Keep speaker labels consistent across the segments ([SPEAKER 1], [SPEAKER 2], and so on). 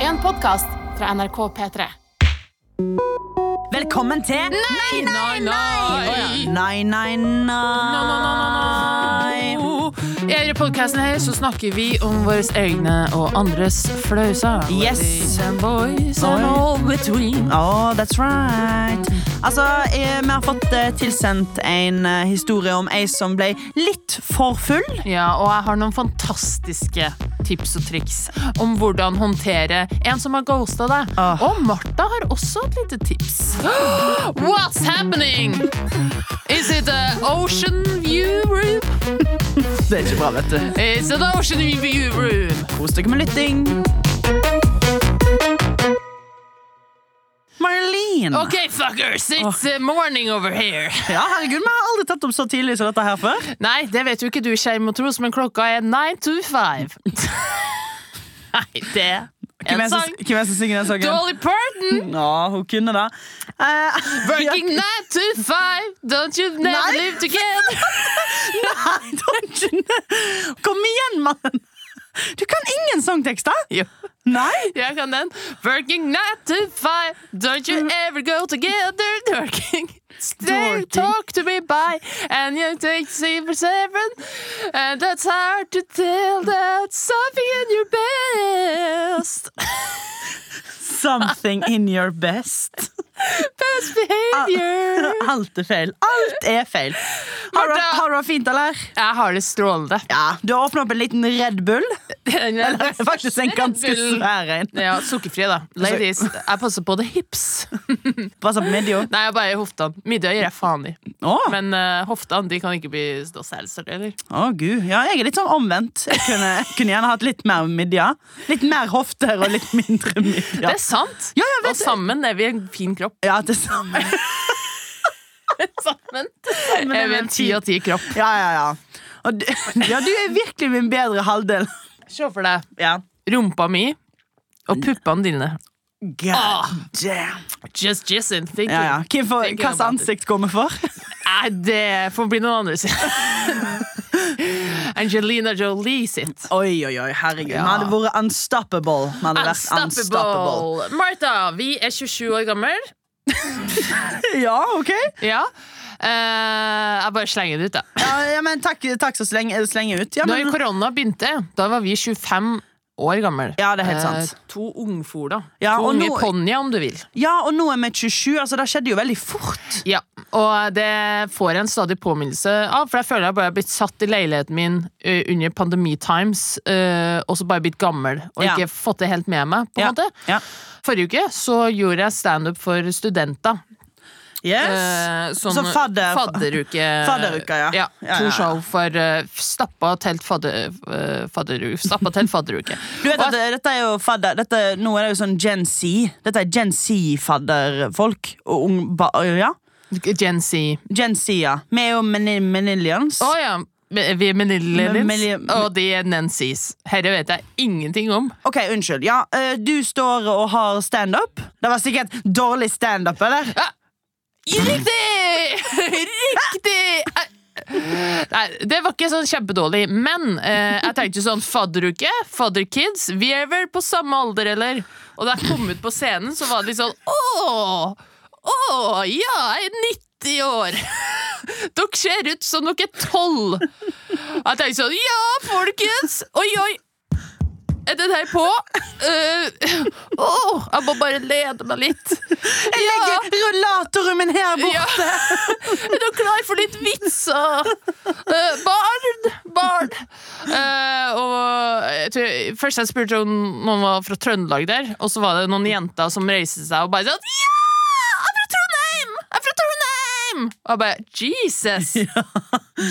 [SPEAKER 1] en podkast fra NRK P3.
[SPEAKER 2] Velkommen til
[SPEAKER 1] Nei, nei, nei!
[SPEAKER 2] Nei, nei, nei
[SPEAKER 1] I denne podkasten her så snakker vi om våre egne og andres flauser.
[SPEAKER 2] Yes.
[SPEAKER 1] Ladies and boys and
[SPEAKER 2] Oi.
[SPEAKER 1] all between.
[SPEAKER 2] Oh, that's right Altså, eh, vi har fått eh, tilsendt en eh, historie om ei som ble litt for full
[SPEAKER 1] Ja, og jeg har noen fantastiske tips og triks om hvordan håndtere en som har ghosta deg.
[SPEAKER 2] Åh.
[SPEAKER 1] Og Martha har også et lite tips. What's happening? Is it a ocean view room?
[SPEAKER 2] Det er ikke bra, vet du
[SPEAKER 1] It's an ocean view room.
[SPEAKER 2] Kos dere med lytting Marlene
[SPEAKER 1] Ok, fuckers, it's uh, morning over here.
[SPEAKER 2] Ja, herregud, vi har aldri tatt opp så tidlig som dette her før
[SPEAKER 1] Nei, det vet jo ikke du, Kjerm og Tros, men klokka er 9 to 5. Nei, det er en
[SPEAKER 2] Hvem er det som-
[SPEAKER 1] sang.
[SPEAKER 2] hvem er det som synger den sangen?
[SPEAKER 1] Dolly Parton!
[SPEAKER 2] Ja, hun kunne det Eh,
[SPEAKER 1] Working nine to five, don't you never
[SPEAKER 2] Nei.
[SPEAKER 1] live together.
[SPEAKER 2] Nei, Dodgen! Kom igjen, mannen! Du kan ingen sangtekster!
[SPEAKER 1] Jo,
[SPEAKER 2] Nei!
[SPEAKER 1] jeg kan den. Working nine to five, don't you ever go together. Working. They
[SPEAKER 2] Dorking.
[SPEAKER 1] talk to me by, and you take silver seven, and that's hard to tell. That's something in your best,
[SPEAKER 2] Something in your best.
[SPEAKER 1] best behavior.
[SPEAKER 2] Alt er feil. Alt er feil. Har du,
[SPEAKER 1] Martha!
[SPEAKER 2] har du det fint, eller?
[SPEAKER 1] Jeg har det strålende.
[SPEAKER 2] Ja, Du har åpna opp en liten Red Bull.
[SPEAKER 1] Eller
[SPEAKER 2] Faktisk en ganske svær en.
[SPEAKER 1] Ja, sukkerfri, da. Ladies, jeg passer på the hips.
[SPEAKER 2] Passa på midja.
[SPEAKER 1] Nei, jeg bare hoftene. Middag gir jeg faen i.
[SPEAKER 2] Å,
[SPEAKER 1] Men eh, hoftene de kan ikke bli stå selvsagt, eller?
[SPEAKER 2] å, gud. Ja, jeg er litt sånn omvendt. Jeg kunne, jeg kunne gjerne hatt litt mer midja. Litt mer hofter og litt mindre midja.
[SPEAKER 1] Det er sant!
[SPEAKER 2] Ja, jeg
[SPEAKER 1] og sammen er vi en fin kropp.
[SPEAKER 2] Ja, til sammen.
[SPEAKER 1] Sammen
[SPEAKER 2] Men det
[SPEAKER 1] er vi en ti av ti kropp.
[SPEAKER 2] Ja, ja, ja. Og du, ja, du er virkelig min bedre halvdel.
[SPEAKER 1] Se for deg
[SPEAKER 2] Ja.
[SPEAKER 1] rumpa mi og puppene dine.
[SPEAKER 2] God damn.
[SPEAKER 1] Just jizzing. Thank
[SPEAKER 2] Ah. Ja, ja.
[SPEAKER 1] you.
[SPEAKER 2] Hvem får,
[SPEAKER 1] Thank you
[SPEAKER 2] hva slags
[SPEAKER 1] about it.
[SPEAKER 2] ansikt går vi for?
[SPEAKER 1] Nei, det får bli noen andre sitt. Angelina Jolie sitt.
[SPEAKER 2] Oi, oi, oi, herregud.
[SPEAKER 1] Ja.
[SPEAKER 2] Vi hadde vært unstoppable. Vi hadde vært unstoppable.
[SPEAKER 1] Unstoppable. Martha, vi er 27 år gammel.
[SPEAKER 2] Ja, ok.
[SPEAKER 1] Ja. Eh, jeg bare slenger det ut, da.
[SPEAKER 2] Ja, ja, men takk, takk så slenge, slenge ut. Ja,
[SPEAKER 1] Når
[SPEAKER 2] men,
[SPEAKER 1] korona begynte, da var vi 25 år gamle.
[SPEAKER 2] Ja, det er helt sant.
[SPEAKER 1] Eh, to ungfola.
[SPEAKER 2] Ja,
[SPEAKER 1] to
[SPEAKER 2] og
[SPEAKER 1] unge
[SPEAKER 2] nå-
[SPEAKER 1] ponnier, om du vil.
[SPEAKER 2] ja og nå er vi 27. Altså, det skjedde jo veldig fort.
[SPEAKER 1] Ja, Og det får jeg en stadig påminnelse av, for jeg føler jeg bare har blitt satt i leiligheten min eh, under pandemitimes, uh, og så bare blitt gammel og
[SPEAKER 2] Ja.
[SPEAKER 1] ikke fått det helt med meg. på en
[SPEAKER 2] Ja.
[SPEAKER 1] måte.
[SPEAKER 2] Ja.
[SPEAKER 1] Forrige uke så gjorde jeg standup for studenter. Eh,
[SPEAKER 2] Yes.
[SPEAKER 1] sånn
[SPEAKER 2] Så fadder-
[SPEAKER 1] fadderuke.
[SPEAKER 2] Fadderuka, ja.
[SPEAKER 1] ja.
[SPEAKER 2] Ja,
[SPEAKER 1] To
[SPEAKER 2] ja, ja.
[SPEAKER 1] show for eh, stappa telt fadder, eh, fadderu, stappa telt fadderuke.
[SPEAKER 2] Du vet
[SPEAKER 1] Og
[SPEAKER 2] at eh, dette er jo fadder dette, Nå er det jo sånn Gen Z. Dette er Gen Z-fadderfolk. Og ung... Ba, ja.
[SPEAKER 1] at- Gen Z.
[SPEAKER 2] Gen Z, ja. Vi er jo meni- menillions.
[SPEAKER 1] Å ja. Vi er
[SPEAKER 2] Men-
[SPEAKER 1] Menillians,
[SPEAKER 2] men-
[SPEAKER 1] og de er Nancys. Herre vet jeg ingenting om.
[SPEAKER 2] Ok, unnskyld. Ja, eh, du står og har standup. Det var sikkert dårlig standup, eller?
[SPEAKER 1] Riktig! Riktig! Nei, det var ikke sånn kjempedårlig, men eh, jeg tenkte sånn fadderuke, fadderkids, vi er vel på samme alder, eller? Og da jeg kom ut på scenen, så var det litt sånn Åh, åh, ja, jeg er 90 år! Dere ser ut som dere er 12! Jeg tenkte sånn Ja, folkens! Oi, oi! Er den her på? Eh, Åh, jeg må bare lede meg litt.
[SPEAKER 2] Jeg legger rullatoren min her borte!
[SPEAKER 1] Ja. Er du klar for litt vitser? Eh, barn! Barn! Eh, og jeg tror, først jeg spurte om noen var fra Trøndelag der, og så var det noen jenter som reiste seg og bare sånn Ja! Jeg er fra Trondheim! Jeg er fra Trondheim! Og jeg bare Jesus!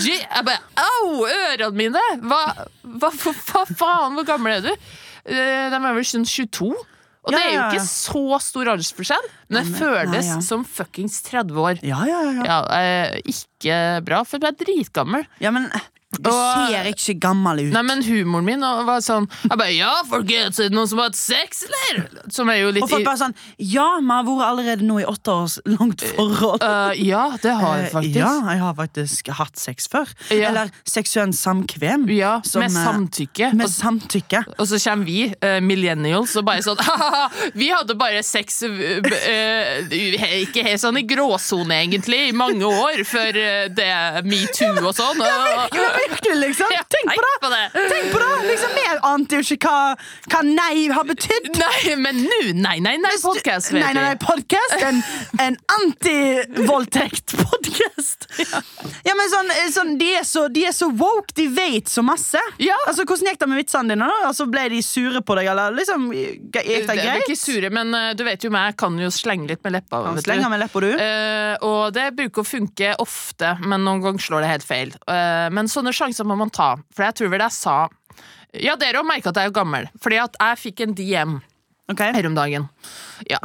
[SPEAKER 1] Je jeg bare Au! Ørene mine! Hva, hva, hva, hva faen? Hvor gammel er du? Eh, de er vel sånn 22? Og
[SPEAKER 2] Ja,
[SPEAKER 1] det er jo
[SPEAKER 2] ja, ja.
[SPEAKER 1] ikke så stor aldersforskjell, men jeg føles
[SPEAKER 2] nei, ja.
[SPEAKER 1] som fuckings 30 år.
[SPEAKER 2] Ja, ja, ja.
[SPEAKER 1] Ja, eh, ikke bra, for du er dritgammel.
[SPEAKER 2] Ja, men Du
[SPEAKER 1] Og-
[SPEAKER 2] ser ikke gammel ut.
[SPEAKER 1] Nei, men humoren min var sånn Jeg bare, ja, folkens, er det noen som har hatt sex, eller? Som er jo litt
[SPEAKER 2] Og folk
[SPEAKER 1] i-
[SPEAKER 2] bare sånn Ja, vi har vært allerede nå i åtte års langt forhold.
[SPEAKER 1] Øh, Ja, det har jeg
[SPEAKER 2] Eh,
[SPEAKER 1] faktisk.
[SPEAKER 2] Ja, jeg har faktisk hatt sex før.
[SPEAKER 1] Ja.
[SPEAKER 2] Eller seksuelt samkvem.
[SPEAKER 1] Ja,
[SPEAKER 2] som,
[SPEAKER 1] med
[SPEAKER 2] eh,
[SPEAKER 1] samtykke.
[SPEAKER 2] Med
[SPEAKER 1] Og,
[SPEAKER 2] samtykke.
[SPEAKER 1] og så kommer vi, eh, millennials, og bare sånn «Hahaha, Vi hadde bare sex eh, b- eh, he- Ikke helt sånn i gråsone, egentlig, i mange år før eh, det metoo og sånn. Og,
[SPEAKER 2] Ja, virkelig, liksom.
[SPEAKER 1] Ja,
[SPEAKER 2] Tenk på det!
[SPEAKER 1] på det!
[SPEAKER 2] Tenk på det! Liksom, Vi ante jo ikke hva, hva nei har betydd.
[SPEAKER 1] Nei, men nå Nei, nei, nei, podkast,
[SPEAKER 2] Nei, nei, nei, podcast En, en anti-voldtekt-podcast Ja, men sånn, sånn de, er så, de er så woke, de vet så masse
[SPEAKER 1] Ja.
[SPEAKER 2] Altså, hvordan gikk det med vitsene dine da? Altså, ble de sure på deg, eller liksom Gikk det
[SPEAKER 1] Det er
[SPEAKER 2] greit?
[SPEAKER 1] ikke sure, men eh, du vet jo meg, jeg kan jo slenge litt med leppa. vet du.
[SPEAKER 2] Slenger med lepper du
[SPEAKER 1] Eh, og det bruker å funke ofte, men noen ganger slår det helt feil. Eh, men sånne sjanser må man ta. For jeg tror vel jeg sa Ja, dere har merka at jeg er gammel, fordi at jeg fikk en DM
[SPEAKER 2] Ok,
[SPEAKER 1] her om dagen. Ja,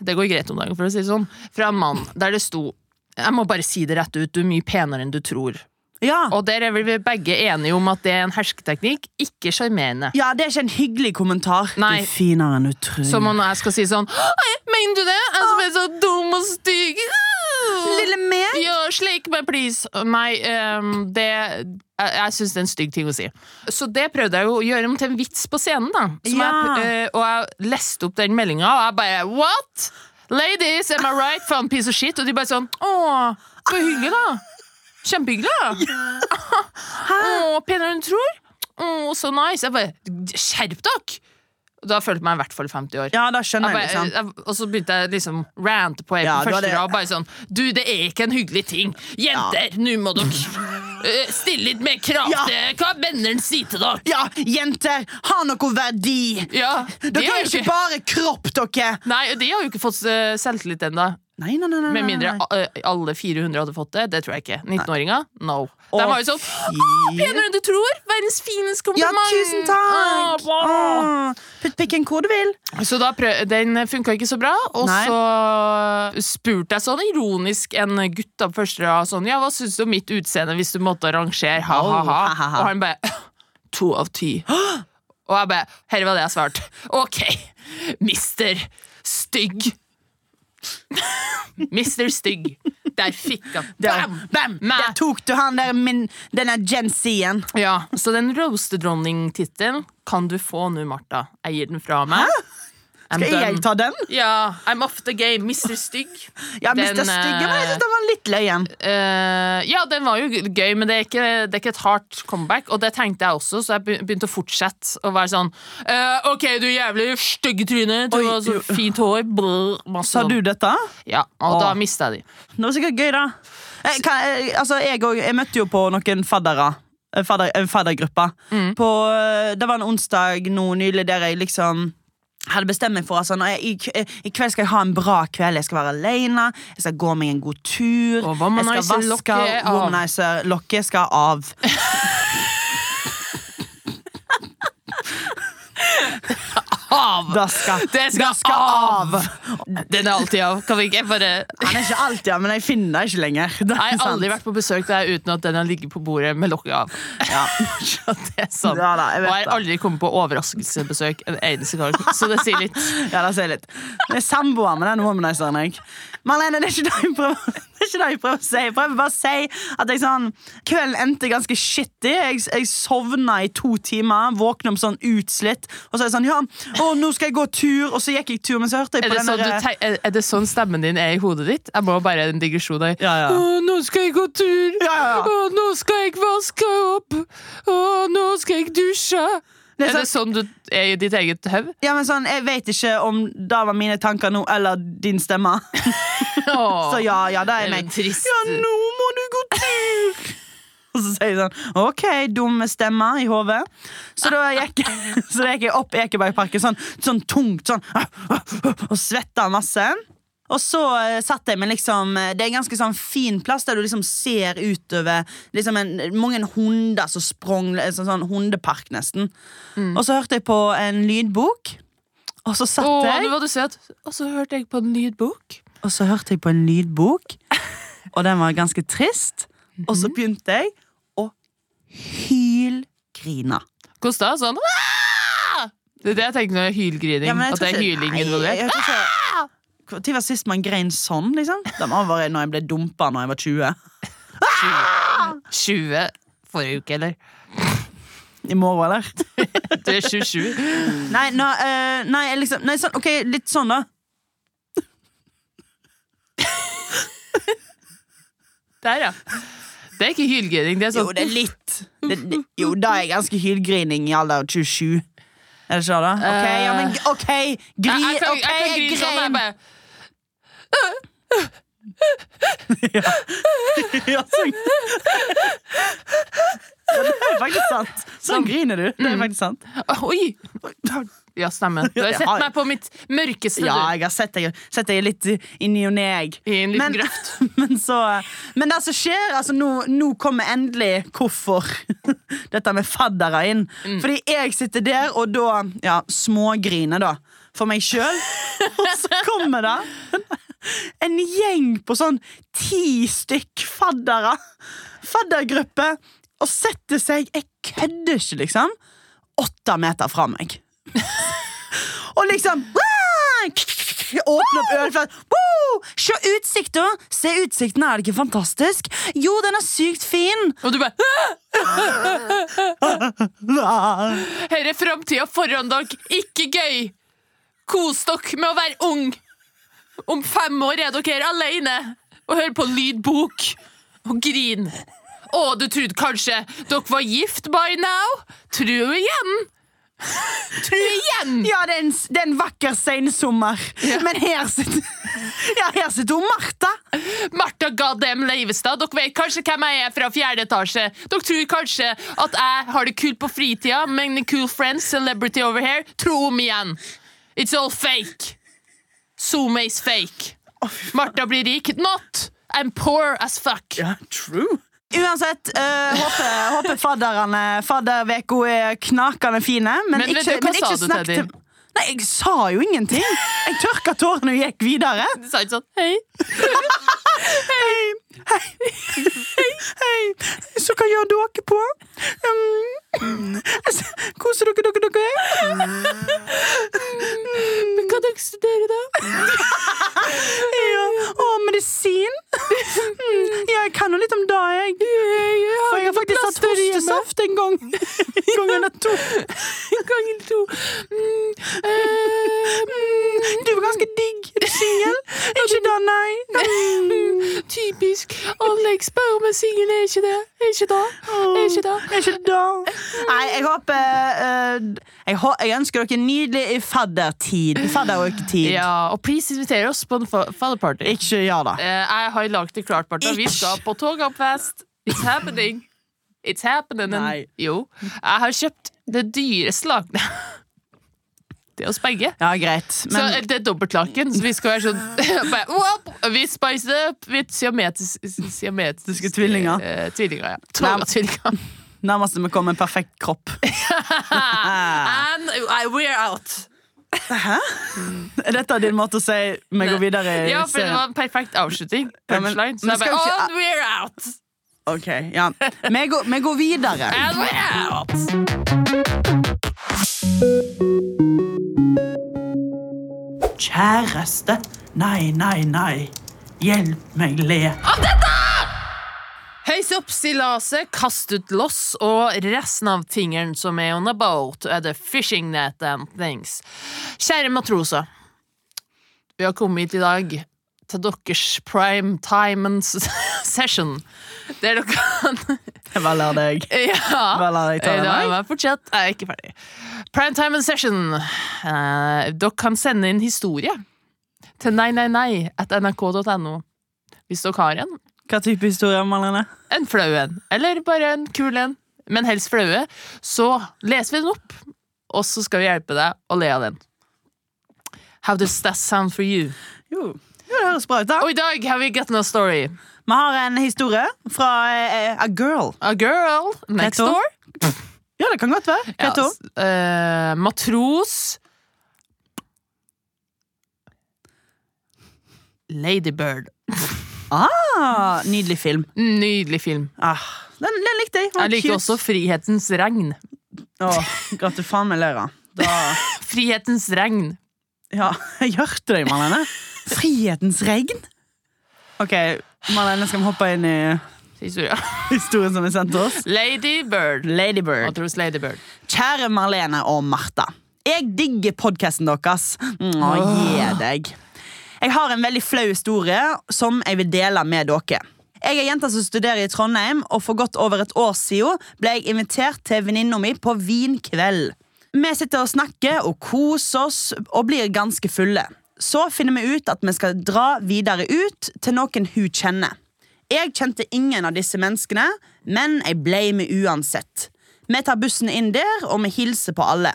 [SPEAKER 1] det går greit om dagen, for å si det sånn. Fra en mann der det sto Jeg må bare si det rett ut, du er mye penere enn du tror.
[SPEAKER 2] ja
[SPEAKER 1] Og der er vel vi begge enige om at det er en hersketeknikk, ikke sjarmerende.
[SPEAKER 2] ja, det er ikke en hyggelig kommentar
[SPEAKER 1] Nei.
[SPEAKER 2] Du er finere enn du tror
[SPEAKER 1] Som om jeg skal si sånn «Hei, Mener du det? Jeg som er så dum og stygg.
[SPEAKER 2] Lille meg
[SPEAKER 1] Ja, slik meg, please. Nei, ehm, det Jeg, jeg syns det er en stygg ting å si. Så det prøvde jeg jo å gjøre om til en vits på scenen, da. Som
[SPEAKER 2] Ja.
[SPEAKER 1] jeg, eh, og jeg leste opp den meldinga, og jeg bare What?! Ladies, am I right? For en piece of shit. Og de bare sånn Å, så hyggelig, da. Kjempehyggelig, da. Å, penere enn du tror. Å, så nice. Jeg bare Skjerp dere! Og Da følte jeg meg i hvert fall 50 år.
[SPEAKER 2] Ja, da skjønner
[SPEAKER 1] Jeg bare,
[SPEAKER 2] jeg
[SPEAKER 1] eh,
[SPEAKER 2] liksom
[SPEAKER 1] jeg, og så begynte jeg liksom rante på
[SPEAKER 2] Ja,
[SPEAKER 1] ja,
[SPEAKER 2] du
[SPEAKER 1] første
[SPEAKER 2] hadde-
[SPEAKER 1] rad. Bare sånn Du, det er ikke en hyggelig ting. Jenter, nå må dere eh, stille litt mer krav
[SPEAKER 2] Ja.
[SPEAKER 1] til hva mennene sier til dere.
[SPEAKER 2] Ja, jenter, ha noe verdi
[SPEAKER 1] Ja, de
[SPEAKER 2] Dere
[SPEAKER 1] har
[SPEAKER 2] er
[SPEAKER 1] jo
[SPEAKER 2] ikke
[SPEAKER 1] ikke,
[SPEAKER 2] bare kropp, dere
[SPEAKER 1] nei, og de har jo ikke fått eh, selvtillit ennå.
[SPEAKER 2] Nei, nei, nei, nei,
[SPEAKER 1] Med
[SPEAKER 2] nei,
[SPEAKER 1] mindre
[SPEAKER 2] nei.
[SPEAKER 1] eh, alle 400 hadde fått det. Det tror jeg ikke. 19-åringer? No.
[SPEAKER 2] Å,
[SPEAKER 1] De var jo sånn
[SPEAKER 2] fy-
[SPEAKER 1] Penere enn du tror! Verdens fineste
[SPEAKER 2] Ja,
[SPEAKER 1] kompliment!
[SPEAKER 2] tusen takk!
[SPEAKER 1] Å, wow.
[SPEAKER 2] Åh, Putt pikken hvor du vil.
[SPEAKER 1] Så da prøv, den funka ikke så bra, og
[SPEAKER 2] Nei.
[SPEAKER 1] så spurte jeg sånn ironisk en gutt da på første rad sånn Ja, hva syns du om mitt utseende hvis du måtte rangere? Ha, ha, ha.
[SPEAKER 2] Oh, ha, ha, ha.
[SPEAKER 1] Og han bare To av ti. Og jeg bare Her var det jeg svarte. OK, mister stygg. mister stygg. Der fikk han.
[SPEAKER 2] Der,
[SPEAKER 1] Bam!
[SPEAKER 2] bam!
[SPEAKER 1] Nei.
[SPEAKER 2] Der tok du han der min, denne Gen Z-en.
[SPEAKER 1] Ja, Så den roastedronning-tittelen kan du få nå, Martha. Jeg gir den fra meg. I'm
[SPEAKER 2] Skal jeg
[SPEAKER 1] done.
[SPEAKER 2] ta den?
[SPEAKER 1] Ja, I'm off the game, Mr. Stygg.
[SPEAKER 2] Ja,
[SPEAKER 1] Den,
[SPEAKER 2] Mr. Stygge, men jeg
[SPEAKER 1] eh,
[SPEAKER 2] synes den var litt løyen.
[SPEAKER 1] eh, ja, den var jo g- gøy, men det er, ikke, det er ikke et hardt comeback. Og det tenkte jeg også, så jeg be- begynte å fortsette å være sånn eh, OK, du jævlig stygge tryne, du
[SPEAKER 2] Oi,
[SPEAKER 1] har så
[SPEAKER 2] jo.
[SPEAKER 1] fint hår brr, masse
[SPEAKER 2] Sa
[SPEAKER 1] sånn.
[SPEAKER 2] du dette?
[SPEAKER 1] Ja, og da
[SPEAKER 2] Åh.
[SPEAKER 1] mista jeg de.
[SPEAKER 2] Det var sikkert gøy, da. Eh, kan, eh, altså, jeg, og, jeg møtte jo på noen faddere. eh, Fadder, en faddergruppe.
[SPEAKER 1] Mm.
[SPEAKER 2] På, eh, det var en onsdag nå nylig der jeg liksom hadde bestemt meg for at sånn, eh, i, k- eh, i kveld skal jeg ha en bra kveld. Jeg skal være alene, jeg skal gå meg en god tur.
[SPEAKER 1] Og
[SPEAKER 2] Jeg skal vaske
[SPEAKER 1] womanizer-lokket av.
[SPEAKER 2] Womanizer-lokket skal av.
[SPEAKER 1] Av!
[SPEAKER 2] Det skal,
[SPEAKER 1] Det skal av. Den er alltid av. Kan vi ikke bare
[SPEAKER 2] Han er ikke alltid av, men jeg finner det ikke lenger. Det er
[SPEAKER 1] Jeg har aldri
[SPEAKER 2] sant.
[SPEAKER 1] vært på besøk der uten at den har ligget på bordet med lokket av.
[SPEAKER 2] Ja.
[SPEAKER 1] Så det er sant.
[SPEAKER 2] Ja, da, jeg
[SPEAKER 1] og jeg
[SPEAKER 2] vet det.
[SPEAKER 1] har aldri kommet på overraskelsesbesøk en eneste gang, så det sier litt.
[SPEAKER 2] Ja, da ser jeg litt. Det er samboer med den womanizeren jeg. Marlene, det er ikke det jeg prøver det er ikke det jeg prøver å si. Jeg prøver bare å si at jeg sånn Kvelden endte ganske shitty. Jeg, jeg sovna i to timer, våkna om sånn utslitt. Og så er jeg sånn Ja, å, nå skal jeg gå tur. Og så gikk jeg tur, men så hørte jeg
[SPEAKER 1] Er
[SPEAKER 2] på
[SPEAKER 1] det,
[SPEAKER 2] den
[SPEAKER 1] sånn du
[SPEAKER 2] derre-
[SPEAKER 1] tenk- er, er det sånn stemmen din er i hodet ditt? Jeg må bare en digresjon her.
[SPEAKER 2] Ja, ja.
[SPEAKER 1] Å, nå skal jeg gå tur!
[SPEAKER 2] Ja, ja, ja.
[SPEAKER 1] Å, nå skal jeg vaske opp! Å, nå skal jeg dusje!
[SPEAKER 2] Det er
[SPEAKER 1] er, det sånn du er i ditt eget høv?
[SPEAKER 2] Ja, men sånn, Jeg vet ikke om det var mine tanker nå, eller din stemme. Så ja, ja, det
[SPEAKER 1] det
[SPEAKER 2] er
[SPEAKER 1] er
[SPEAKER 2] meg.
[SPEAKER 1] jo trist.
[SPEAKER 2] Ja, nå må du gå tur! Og så sier jeg sånn OK, dumme stemmer i hodet. Så da gikk, så da gikk jeg opp Ekebergparken sånn, sånn tungt sånn og svetta masse. Og så eh, satt jeg meg liksom Det er en ganske sånn fin plass der du liksom ser utover liksom en, mange hunder som sprang en sånn, sånn hundepark, nesten.
[SPEAKER 1] Mm.
[SPEAKER 2] Og så hørte jeg på en lydbok, og så satt
[SPEAKER 1] Å,
[SPEAKER 2] jeg
[SPEAKER 1] nå var du søt. Og så hørte jeg på en lydbok.
[SPEAKER 2] og så hørte jeg på en Mhm. lydbok, og den var ganske trist. Og så begynte jeg å hylgrina.
[SPEAKER 1] Kosta sånn «Aah!» Det er det jeg tenker når det er hylgrining.
[SPEAKER 2] Ja, men jeg
[SPEAKER 1] at
[SPEAKER 2] tror
[SPEAKER 1] det er
[SPEAKER 2] ikke-
[SPEAKER 1] hyling
[SPEAKER 2] Nei,
[SPEAKER 1] involvert. Ah!
[SPEAKER 2] jeg tror ikke- Når var sist man grein sånn, liksom? Det må være når jeg ble dumpa når jeg var 20.
[SPEAKER 1] 20 forrige uke, eller?
[SPEAKER 2] I morgen, eller?
[SPEAKER 1] Du er 27.
[SPEAKER 2] Nei, nå, eh, nei, jeg liksom nei, sånn, Ok, litt sånn, da.
[SPEAKER 1] Der, ja. Det er ikke hylgrining. Det er sånn
[SPEAKER 2] er litt. Det, det, jo, da er jeg ganske hylgrining i alder 27. Er det ikke det? da? Ok, ja, men g- OK!
[SPEAKER 1] Jeg,
[SPEAKER 2] Gri,
[SPEAKER 1] Eh, jeg, kan,
[SPEAKER 2] ok,
[SPEAKER 1] jeg kan
[SPEAKER 2] jeg
[SPEAKER 1] grine sånn. Jeg
[SPEAKER 2] grein!
[SPEAKER 1] bare
[SPEAKER 2] Ja, sånn. Ja, det er faktisk sant. Sånn griner du. Det er faktisk sant.
[SPEAKER 1] Oi! Ja, stemmer. Du har
[SPEAKER 2] Jeg
[SPEAKER 1] sett
[SPEAKER 2] har-
[SPEAKER 1] meg på mitt mørkeste.
[SPEAKER 2] Ja,
[SPEAKER 1] du.
[SPEAKER 2] jeg har sett deg, sett deg litt i ny og neg.
[SPEAKER 1] I en liten
[SPEAKER 2] Men,
[SPEAKER 1] grøft.
[SPEAKER 2] men, så, men det som skjer altså nå, nå kommer endelig hvorfor dette med faddere inn.
[SPEAKER 1] Mm.
[SPEAKER 2] Fordi jeg sitter der og da ja, smågriner da, for meg sjøl. Og så kommer det en gjeng på sånn ti stykk faddere. Faddergruppe. Og setter seg Jeg kødder ikke, liksom. Åtte meter fra meg. Og liksom Åpne opp ølflaten. Wow! Se utsikta! Se utsikten, er det ikke fantastisk? Jo, den er sykt fin!
[SPEAKER 1] Og du bare «Hæ?
[SPEAKER 2] Nei,
[SPEAKER 1] Her er framtida foran dere. Ikke gøy! Kos dere med å være ung. Om fem år er dere alene og hører på lydbok og grin. Å, du trodde kanskje dere var gift by now? Tro igjen! Tro igjen!
[SPEAKER 2] Ja, det er en, det er en vakker seinsommer. Men her sitter Ja, her sitter hun Martha.
[SPEAKER 1] Martha Goddam Leivestad, dere vet kanskje hvem jeg er fra fjerde etasje. Dere tror kanskje at jeg har det kult på fritida, men cool friends, celebrity over here, tro om igjen. It's all fake. Zoom is fake. Martha blir rik. Not! I'm poor as fuck.
[SPEAKER 2] Ja, true. Uansett, eh, håper, håper fadderne Fadderveka er knakende fine.
[SPEAKER 1] Men
[SPEAKER 2] Men,
[SPEAKER 1] vet
[SPEAKER 2] ikke,
[SPEAKER 1] du hva
[SPEAKER 2] men ikke
[SPEAKER 1] sa du,
[SPEAKER 2] snakk
[SPEAKER 1] Teddy?
[SPEAKER 2] til Nei, jeg sa jo ingenting. Jeg tørka tårene og gikk videre.
[SPEAKER 1] Du sa ikke sånn hei.
[SPEAKER 2] Hei, så hva gjør dere på? Um, koser dere dere dere?
[SPEAKER 1] Men hva dere studerer da?
[SPEAKER 2] Ja. Å, medisin? Mm, ja, jeg kan jo litt om det, jeg. For jeg har faktisk hatt
[SPEAKER 1] plaster hjemme.
[SPEAKER 2] hostesaft en gang. En gang eller to.
[SPEAKER 1] Ganger to. Mm, eh,
[SPEAKER 2] Du var ganske digg. Er du singel? Ikke det, nei.
[SPEAKER 1] eh, typisk. Alle jeg spør om er singel, er ikke det. Er ikke det. Er ikke det.
[SPEAKER 2] Er ikke det. Nei, jeg håper eh, jeg, hå- jeg ønsker dere en nydelig faddertid. Fadderuketid.
[SPEAKER 1] Ja, og please inviter oss på en fa- fadderparty.
[SPEAKER 2] Ikke gjør det.
[SPEAKER 1] Eh, jeg har lagt det klart, Bartha. Vi
[SPEAKER 2] Ikke.
[SPEAKER 1] skal på Togafest. It's happening. It's happening.
[SPEAKER 2] Nei.
[SPEAKER 1] Jo. Jeg har kjøpt det dyreste lakenet. Det er oss begge.
[SPEAKER 2] Ja, greit.
[SPEAKER 1] så,
[SPEAKER 2] Men
[SPEAKER 1] eller det er dobbeltlaken, så vi skal være sånn bare, «Wop!» Vi spicer det opp. Vi er siametis- siametiske
[SPEAKER 2] tvillinger.
[SPEAKER 1] eh, tvillinger, ja. Toga-tvillinger.
[SPEAKER 2] nærmest vi kommer en perfekt kropp. Ah.
[SPEAKER 1] And I, we're out.
[SPEAKER 2] Er dette din måte å si vi går videre i
[SPEAKER 1] Ja, for det var en perfekt avslutning.
[SPEAKER 2] Eh, Ja, men-
[SPEAKER 1] Punchline. Så
[SPEAKER 2] men
[SPEAKER 1] jeg bare
[SPEAKER 2] skal vi ikke-
[SPEAKER 1] And we're out.
[SPEAKER 2] Ok, ja. Vi går, vi går videre.
[SPEAKER 1] And we're out.
[SPEAKER 2] Kjæreste. Nei, nei, nei. Hjelp meg le.
[SPEAKER 1] Høys opp stillaset, kast ut loss og resten av fingeren som er on a boat, er det fishing net and things. Kjære matroser, vi har kommet hit i dag til deres prime time session, der dere kan
[SPEAKER 2] Hva lar deg?
[SPEAKER 1] Ja.
[SPEAKER 2] Hva lar deg ta
[SPEAKER 1] Da er
[SPEAKER 2] den?
[SPEAKER 1] jeg fortsatt Jeg er ikke ferdig. Primetime and session. Eh, dere kan sende inn historie til nei, nei, nei at nrk.no hvis dere har en.
[SPEAKER 2] Hva type historie, Malene?
[SPEAKER 1] En flau en, eller bare en kul en, men helst flaue, så leser vi den opp, og så skal vi hjelpe deg å le av den. How does that sound for you?
[SPEAKER 2] Jo. jo, det høres bra ut, da.
[SPEAKER 1] Og i dag har vi gotten a story.
[SPEAKER 2] Vi har en historie fra eh, A Girl.
[SPEAKER 1] A girl next
[SPEAKER 2] Hva heter hun?
[SPEAKER 1] door.
[SPEAKER 2] Ja, det kan godt være. Hva heter hun?
[SPEAKER 1] s- eh, matros. Ladybird.
[SPEAKER 2] Ah, nydelig film.
[SPEAKER 1] Nydelig film.
[SPEAKER 2] Ah, den, den likte jeg. Den var
[SPEAKER 1] Jeg liker
[SPEAKER 2] cute.
[SPEAKER 1] også 'Frihetens regn'.
[SPEAKER 2] Åh, Gratulerer faen med Løra. Da
[SPEAKER 1] Frihetens regn.
[SPEAKER 2] Ja, jeg hørte deg, Marlene. Frihetens regn. OK, Marlene, skal vi hoppe inn i
[SPEAKER 1] Historia.
[SPEAKER 2] historien som er sendt til oss?
[SPEAKER 1] Lady Bird.
[SPEAKER 2] Ladybird.
[SPEAKER 1] Matros Lady Bird.
[SPEAKER 2] Kjære Marlene og Martha. Jeg digger podkasten deres. Mm, Å, gi deg. Jeg har en veldig flau historie som jeg vil dele med dere. Jeg er jenta som studerer i Trondheim, og for godt over et år siden ble jeg invitert til venninna mi på vinkveld. Vi sitter og snakker og koser oss og blir ganske fulle. Så finner vi ut at vi skal dra videre ut til noen hun kjenner. Jeg kjente ingen av disse menneskene, men jeg ble med uansett. Vi tar bussen inn der, og vi hilser på alle.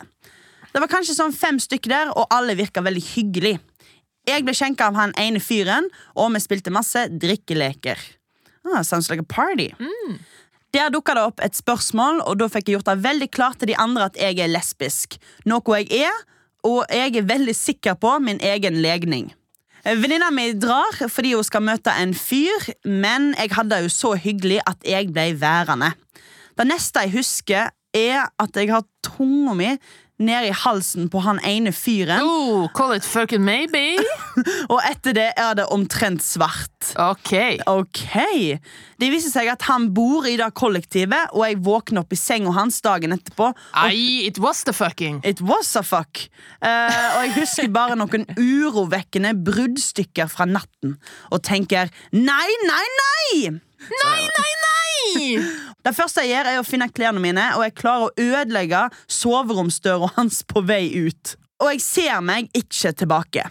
[SPEAKER 2] Det var kanskje sånn fem stykker der, og alle virka veldig hyggelig. Jeg ble skjenka av han ene fyren, og vi spilte masse drikkeleker. Ah, sounds like a party. Der dukka det opp et spørsmål, og da fikk jeg gjort det veldig klart til de andre at jeg er lesbisk. Noe jeg er, og jeg er veldig sikker på min egen legning. Eh, Venninna mi drar fordi hun skal møte en fyr, men jeg hadde det jo så hyggelig at jeg ble værende. Det neste jeg husker, er at jeg har tunga mi ned i halsen på han ene fyren,
[SPEAKER 1] Oh, call it fucking maybe.
[SPEAKER 2] og etter det er det omtrent svart.
[SPEAKER 1] Ok.
[SPEAKER 2] Ok Det viser seg at han bor i det kollektivet, og jeg våkner opp i senga hans dagen etterpå. Og
[SPEAKER 1] Nei, it was the fucking.
[SPEAKER 2] It was a fuck. Eh, og jeg husker bare noen urovekkende bruddstykker fra natten. Og tenker nei, nei, nei!
[SPEAKER 1] Nei, nei, nei!
[SPEAKER 2] Det første jeg gjør, er å finne klærne mine, og jeg klarer å ødelegge soveromsdøra hans på vei ut. Og jeg ser meg ikke tilbake.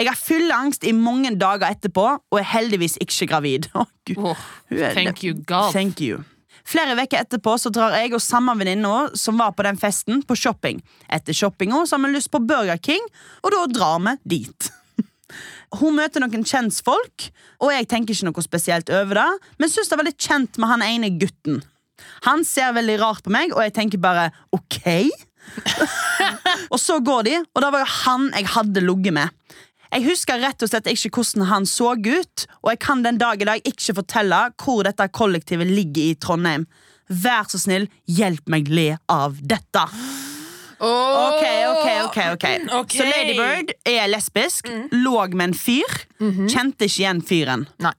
[SPEAKER 2] Jeg har fylleangst i mange dager etterpå, og er heldigvis ikke gravid. Å, Gud.
[SPEAKER 1] Åh,
[SPEAKER 2] Hun er-
[SPEAKER 1] Oh, thank you, God.
[SPEAKER 2] Thank you. Flere uker etterpå så drar jeg og samme venninna som var på den festen, på shopping. Etter shoppinga så har vi lyst på Burger King, og da drar vi dit. Hun møter noen kjentfolk, og jeg tenker ikke noe spesielt over det, men syns det er veldig kjent med han ene gutten. Han ser veldig rart på meg, og jeg tenker bare OK? og så går de, og det var jo han jeg hadde ligget med. Jeg husker rett og slett ikke hvordan han så ut, og jeg kan den dag i dag ikke fortelle hvor dette kollektivet ligger i Trondheim. Vær så snill, hjelp meg le av dette.
[SPEAKER 1] Åh.
[SPEAKER 2] Ok, ok, ok, ok.
[SPEAKER 1] Mm, Ok. Mm.
[SPEAKER 2] Så Ladybird er lesbisk, lå med en fyr,
[SPEAKER 1] Mhm.
[SPEAKER 2] kjente ikke igjen fyren.
[SPEAKER 1] Nei.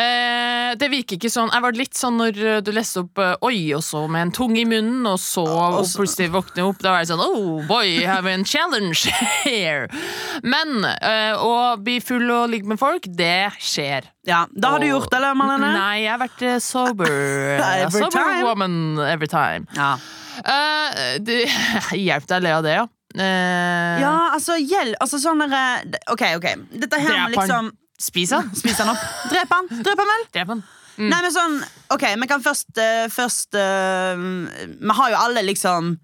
[SPEAKER 1] Eh, det virker ikke sånn Jeg var litt sånn når eh, du leste opp eh, Oi, og så med en tung i munnen, og så og
[SPEAKER 2] så-
[SPEAKER 1] plutselig våkne opp. Da var jeg sånn Oh boy, I have a challenge here. Men eh, å bli full og ligge med folk, det skjer.
[SPEAKER 2] Ja, Da har du
[SPEAKER 1] Og-
[SPEAKER 2] gjort det, eller, Marlene?
[SPEAKER 1] Nei, jeg har vært eh, sober. Eh,
[SPEAKER 2] Every
[SPEAKER 1] sober
[SPEAKER 2] time.
[SPEAKER 1] woman every time.
[SPEAKER 2] Ja.
[SPEAKER 1] Eh, det- Hjelp deg å le av det, ja. Eh,
[SPEAKER 2] ja, altså, gjeld Altså sånn der, eh, Ok, ok. Dette her
[SPEAKER 1] Drep
[SPEAKER 2] med
[SPEAKER 1] han.
[SPEAKER 2] liksom
[SPEAKER 1] Spis han.
[SPEAKER 2] Spis han opp. Drep han. Drep han vel?
[SPEAKER 1] Drep han.
[SPEAKER 2] Nei, men sånn, ok, vi kan først, eh, først eh, Vi har jo alle liksom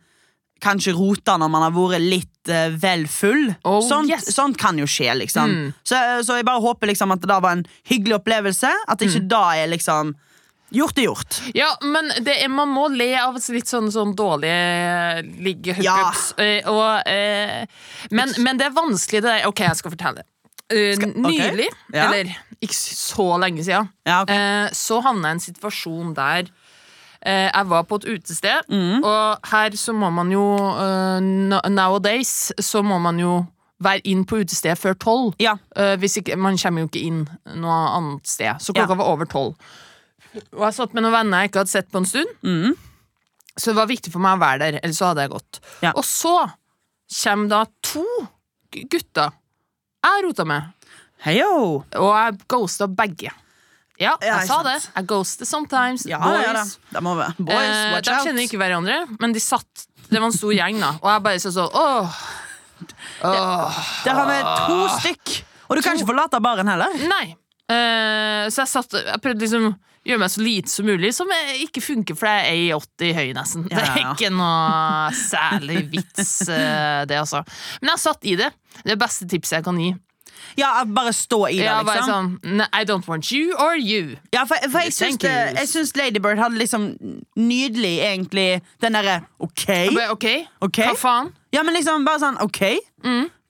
[SPEAKER 2] Kanskje rota når man har vært litt eh, vel full
[SPEAKER 1] Oh,
[SPEAKER 2] sånt,
[SPEAKER 1] yes.
[SPEAKER 2] sånt kan jo skje liksom så, så jeg bare håper liksom at det da var en hyggelig opplevelse At ikke da er liksom Gjort er gjort
[SPEAKER 1] Ja, men det er, man må le av litt sånne, sånn dårlige ligge-hookups. eh, og, eh, men, men det er vanskelig, det der. Ok, jeg skal fortelle. Eh,
[SPEAKER 2] ok.
[SPEAKER 1] Nylig,
[SPEAKER 2] Ja.
[SPEAKER 1] eller ikke så lenge siden,
[SPEAKER 2] Ja, ok.
[SPEAKER 1] eh, så havna jeg i en situasjon der eh, jeg var på et utested,
[SPEAKER 2] Mm.
[SPEAKER 1] og her så må man jo eh, no- Nowadays så må man jo være inn på utestedet før tolv.
[SPEAKER 2] Ja,
[SPEAKER 1] Eh, hvis ikke, man kommer jo ikke inn noe annet sted. Så klokka
[SPEAKER 2] Ja.
[SPEAKER 1] var over tolv. Og jeg satt med noen venner jeg ikke hadde sett på en stund.
[SPEAKER 2] Mm.
[SPEAKER 1] Så det var viktig for meg å være der, ellers så hadde jeg gått.
[SPEAKER 2] Ja.
[SPEAKER 1] Og så kommer da to gu- gutter jeg rota med,
[SPEAKER 2] hei jo
[SPEAKER 1] og jeg ghosta begge. Ja,
[SPEAKER 2] Ja,
[SPEAKER 1] jeg sa
[SPEAKER 2] ikke
[SPEAKER 1] det. Jeg ghoster sometimes.
[SPEAKER 2] Ja,
[SPEAKER 1] boys.
[SPEAKER 2] ja, da Da må vi Boys,
[SPEAKER 1] Eh,
[SPEAKER 2] watch
[SPEAKER 1] de
[SPEAKER 2] out
[SPEAKER 1] kjenner ikke hverandre, men de satt Det var en stor gjeng, da. Og jeg bare sånn sånn Åh. Åh.
[SPEAKER 2] Der har vi to stykk Og du kan ikke forlate baren heller
[SPEAKER 1] Nei. Eh, så jeg, satt, jeg prøvde liksom å gjøre meg så lite som mulig, som eh, ikke funker, for jeg er 1,80 høy, nesten.
[SPEAKER 2] Ja, ja,
[SPEAKER 1] Det er
[SPEAKER 2] ja.
[SPEAKER 1] ikke noe særlig vits, eh, det, altså. Men jeg satt i det. Det er beste tipset jeg kan gi.
[SPEAKER 2] Ja, bare stå i det
[SPEAKER 1] Jeg var
[SPEAKER 2] liksom
[SPEAKER 1] sånn "Nei, I don't want you or you.
[SPEAKER 2] Ja, for, for jeg, syns
[SPEAKER 1] Thank
[SPEAKER 2] det,
[SPEAKER 1] you.
[SPEAKER 2] jeg syns Ladybird hadde liksom nydelig, egentlig, den derre OK.
[SPEAKER 1] Jeg Bare, OK,
[SPEAKER 2] Ok.
[SPEAKER 1] hva Mm. faen?
[SPEAKER 2] Ja, men liksom bare sånn OK.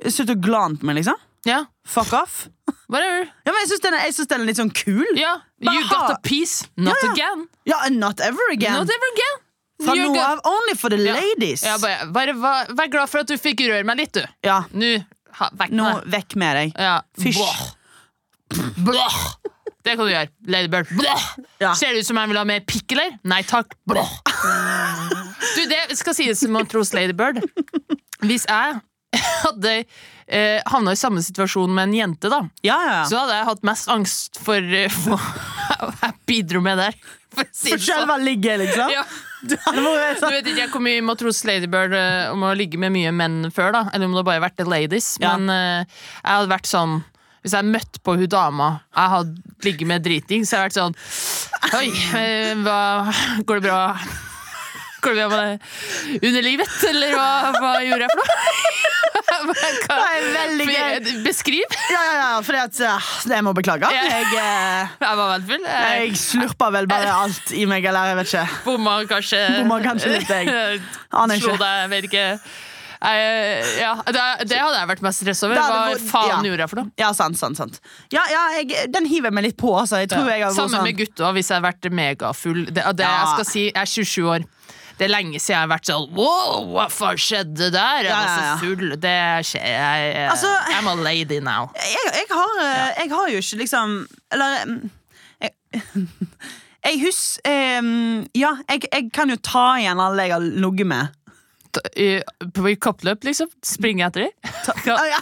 [SPEAKER 2] Slutt å glane på meg, liksom.
[SPEAKER 1] Ja,
[SPEAKER 2] Fuck off.
[SPEAKER 1] whatever.
[SPEAKER 2] Ja, men jeg syns den, er- jeg synes den er litt sånn kul.
[SPEAKER 1] Ja,
[SPEAKER 2] Bare
[SPEAKER 1] you
[SPEAKER 2] ha-
[SPEAKER 1] got a piece, not
[SPEAKER 2] Ja, ja.
[SPEAKER 1] again.
[SPEAKER 2] Ja, Not ever again.
[SPEAKER 1] Not ever again.
[SPEAKER 2] Fra
[SPEAKER 1] You're
[SPEAKER 2] nå
[SPEAKER 1] go-
[SPEAKER 2] av only for the ladies.
[SPEAKER 1] Ja, bare, bare vær, vær glad for at du fikk røre meg litt, du.
[SPEAKER 2] Ja,
[SPEAKER 1] Nå, ha, vekk
[SPEAKER 2] nå
[SPEAKER 1] med deg.
[SPEAKER 2] vekk med deg.
[SPEAKER 1] Ja.
[SPEAKER 2] Fysj.
[SPEAKER 1] Blah. Blah. Det kan du gjøre. Ladybird. Blah.
[SPEAKER 2] Ja.
[SPEAKER 1] Ser det ut som jeg vil ha mer pikk, eller? Nei takk. Blah. Du, det skal sies som en tros Ladybird. Hvis jeg hadde eh, havna i samme situasjon med en jente, da,
[SPEAKER 2] Ja, ja, ja.
[SPEAKER 1] så hadde jeg hatt mest angst for eh, hva jeg bidro med der. For å si
[SPEAKER 2] For
[SPEAKER 1] det sånn.
[SPEAKER 2] selve ligget, liksom.
[SPEAKER 1] Ja.
[SPEAKER 2] Det hadde vært
[SPEAKER 1] Du
[SPEAKER 2] sånn.
[SPEAKER 1] vet ikke jeg hvor mye matros Ladybird eh, om å ligge med mye menn før, da. Eller om det bare har vært the ladies.
[SPEAKER 2] Ja.
[SPEAKER 1] Men eh, jeg hadde vært sånn Hvis jeg møtte på hun dama jeg hadde ligget med driting, så hadde jeg vært sånn Oi, eh, hva Går det bra? Går det bra med det underlivet, eller hva, hva gjorde jeg for noe?
[SPEAKER 2] Det
[SPEAKER 1] Hva-
[SPEAKER 2] er veldig gøy.
[SPEAKER 1] eh, Beskriv!
[SPEAKER 2] Ja, ja, ja, fordi at eh, Jeg må beklage.
[SPEAKER 1] Ja.
[SPEAKER 2] Jeg, eh,
[SPEAKER 1] Jeg var veldig full. Jeg
[SPEAKER 2] jeg slurpa vel bare alt i meg, eller jeg vet ikke.
[SPEAKER 1] bomma kanskje
[SPEAKER 2] Bomma kanskje litt, jeg. Aner
[SPEAKER 1] Slo
[SPEAKER 2] ikke.
[SPEAKER 1] deg, jeg vet ikke. Eh, ja, det, det hadde jeg vært mest stress over.
[SPEAKER 2] Det hadde
[SPEAKER 1] Hva
[SPEAKER 2] vært-
[SPEAKER 1] faen
[SPEAKER 2] ja.
[SPEAKER 1] gjorde jeg for noe?
[SPEAKER 2] Ja, sant, sant, sant. Ja, ja, jeg, den hiver jeg meg litt på, altså. Jeg tror jeg har vært
[SPEAKER 1] Sammen
[SPEAKER 2] sånn-
[SPEAKER 1] med gutta hvis jeg hadde vært megafull. Det, det
[SPEAKER 2] Ja.
[SPEAKER 1] jeg skal si, jeg er 27 år. Det er lenge siden jeg har vært sånn Wow, hva faen skjedde der? Jeg
[SPEAKER 2] Ja,
[SPEAKER 1] var
[SPEAKER 2] ja, ja.
[SPEAKER 1] så full. Det skjer. Jeg, jeg,
[SPEAKER 2] Altså-
[SPEAKER 1] I'm a lady now.
[SPEAKER 2] jeg, jeg, har, eh, jeg har jo ikke liksom Eller mm, Jeg, jeg husker eh, Ja, jeg, jeg kan jo ta igjen alle jeg har ligget med.
[SPEAKER 1] T- I, på i kappløp, liksom. Springer jeg etter dem.
[SPEAKER 2] Å, ja.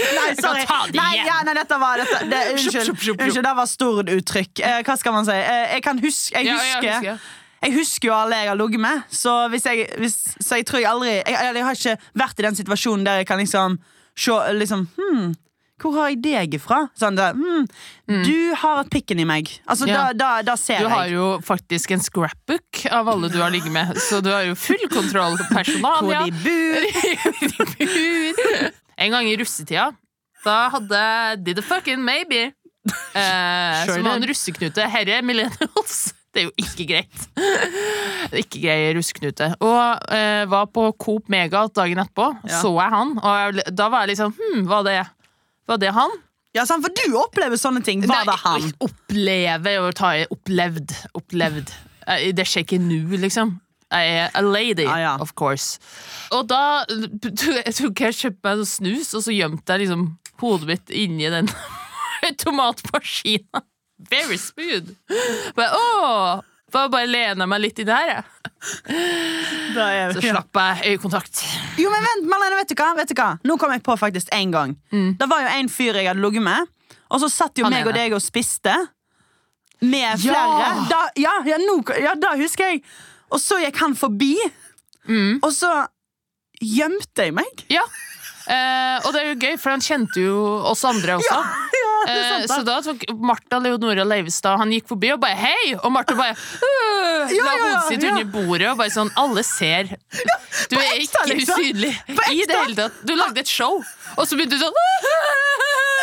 [SPEAKER 2] Nei, sorry.
[SPEAKER 1] Jeg kan ta det
[SPEAKER 2] Nei,
[SPEAKER 1] igjen.
[SPEAKER 2] ja, nei, dette var dette, det,
[SPEAKER 1] Sjup,
[SPEAKER 2] Unnskyld.
[SPEAKER 1] sjup, sjup, sjup.
[SPEAKER 2] Unnskyld, det var stord uttrykk. Eh, hva skal man si? Eh, jeg kan huske Jeg
[SPEAKER 1] Ja, ja,
[SPEAKER 2] husker,
[SPEAKER 1] jeg
[SPEAKER 2] jeg
[SPEAKER 1] husker.
[SPEAKER 2] husker jo alle jeg har ligget med, så, hvis jeg, hvis, så jeg tror jeg aldri jeg, eller jeg har ikke vært i den situasjonen der jeg kan liksom se liksom, hmm, Hvor har jeg deg ifra? Sånn, da, hmm, Du har hatt pikken i meg. Altså,
[SPEAKER 1] Mm. Ja.
[SPEAKER 2] da, da, da ser
[SPEAKER 1] Du har
[SPEAKER 2] jeg.
[SPEAKER 1] jo faktisk en scrapbook av alle du har ligget med, så du har jo full kontroll på
[SPEAKER 2] Hvor
[SPEAKER 1] personalia.
[SPEAKER 2] de bor.
[SPEAKER 1] En gang i russetida, da hadde jeg Did the fucking maybe. Eh,
[SPEAKER 2] Sure
[SPEAKER 1] som var en
[SPEAKER 2] did.
[SPEAKER 1] russeknute. Herre millennials. Det er jo ikke greit. Det er ikke grei russeknute. Og eh, var på Coop Mega dagen etterpå.
[SPEAKER 2] Ja.
[SPEAKER 1] Så jeg han, og jeg, da var jeg liksom Hm, var det, var det han?
[SPEAKER 2] Ja, sant, for du opplever sånne ting. Var det han?
[SPEAKER 1] Nei, Oppleve og ta i Opplevd. Opplevd. Eh, Det skjer ikke nå, liksom. Jeg er a lady,
[SPEAKER 2] Ja, ja.
[SPEAKER 1] of course. Og da tok jeg kjøpte meg noe snus, og så gjemte jeg liksom hodet mitt inni den tomatmaskina. Very smooth. Bare, åh, bare, bare lena meg litt inn her, jeg.
[SPEAKER 2] Da er
[SPEAKER 1] Så
[SPEAKER 2] vi- Ja.
[SPEAKER 1] slapp jeg øyekontakt.
[SPEAKER 2] Jo, men vent, Marlene, vet du hva? Vet du hva? Nå kom jeg på faktisk en gang. Det var jo en fyr jeg hadde ligget med, og så satt jo
[SPEAKER 1] Mm. Han
[SPEAKER 2] meg og
[SPEAKER 1] ene.
[SPEAKER 2] deg og spiste. Med
[SPEAKER 1] Ja!
[SPEAKER 2] flere. Da, ja, ja, nå, ja, da husker jeg. Og så gikk han forbi,
[SPEAKER 1] Mm.
[SPEAKER 2] og så gjemte jeg meg.
[SPEAKER 1] Ja. Eh, og det er jo gøy, for han kjente jo oss andre også.
[SPEAKER 2] ja, det er
[SPEAKER 1] Eh,
[SPEAKER 2] sant, da.
[SPEAKER 1] så da tok Martha Leonora Leivestad Han gikk forbi og bare 'hei!' Og Martha bare øh,
[SPEAKER 2] Ja,
[SPEAKER 1] la
[SPEAKER 2] ja, ja,
[SPEAKER 1] hodet sitt
[SPEAKER 2] ja.
[SPEAKER 1] under bordet og bare sånn 'Alle ser'. Du er
[SPEAKER 2] ekte,
[SPEAKER 1] ikke
[SPEAKER 2] liksom.
[SPEAKER 1] usynlig
[SPEAKER 2] På ekte.
[SPEAKER 1] i det hele tatt. Du lagde et show, og så begynte du sånn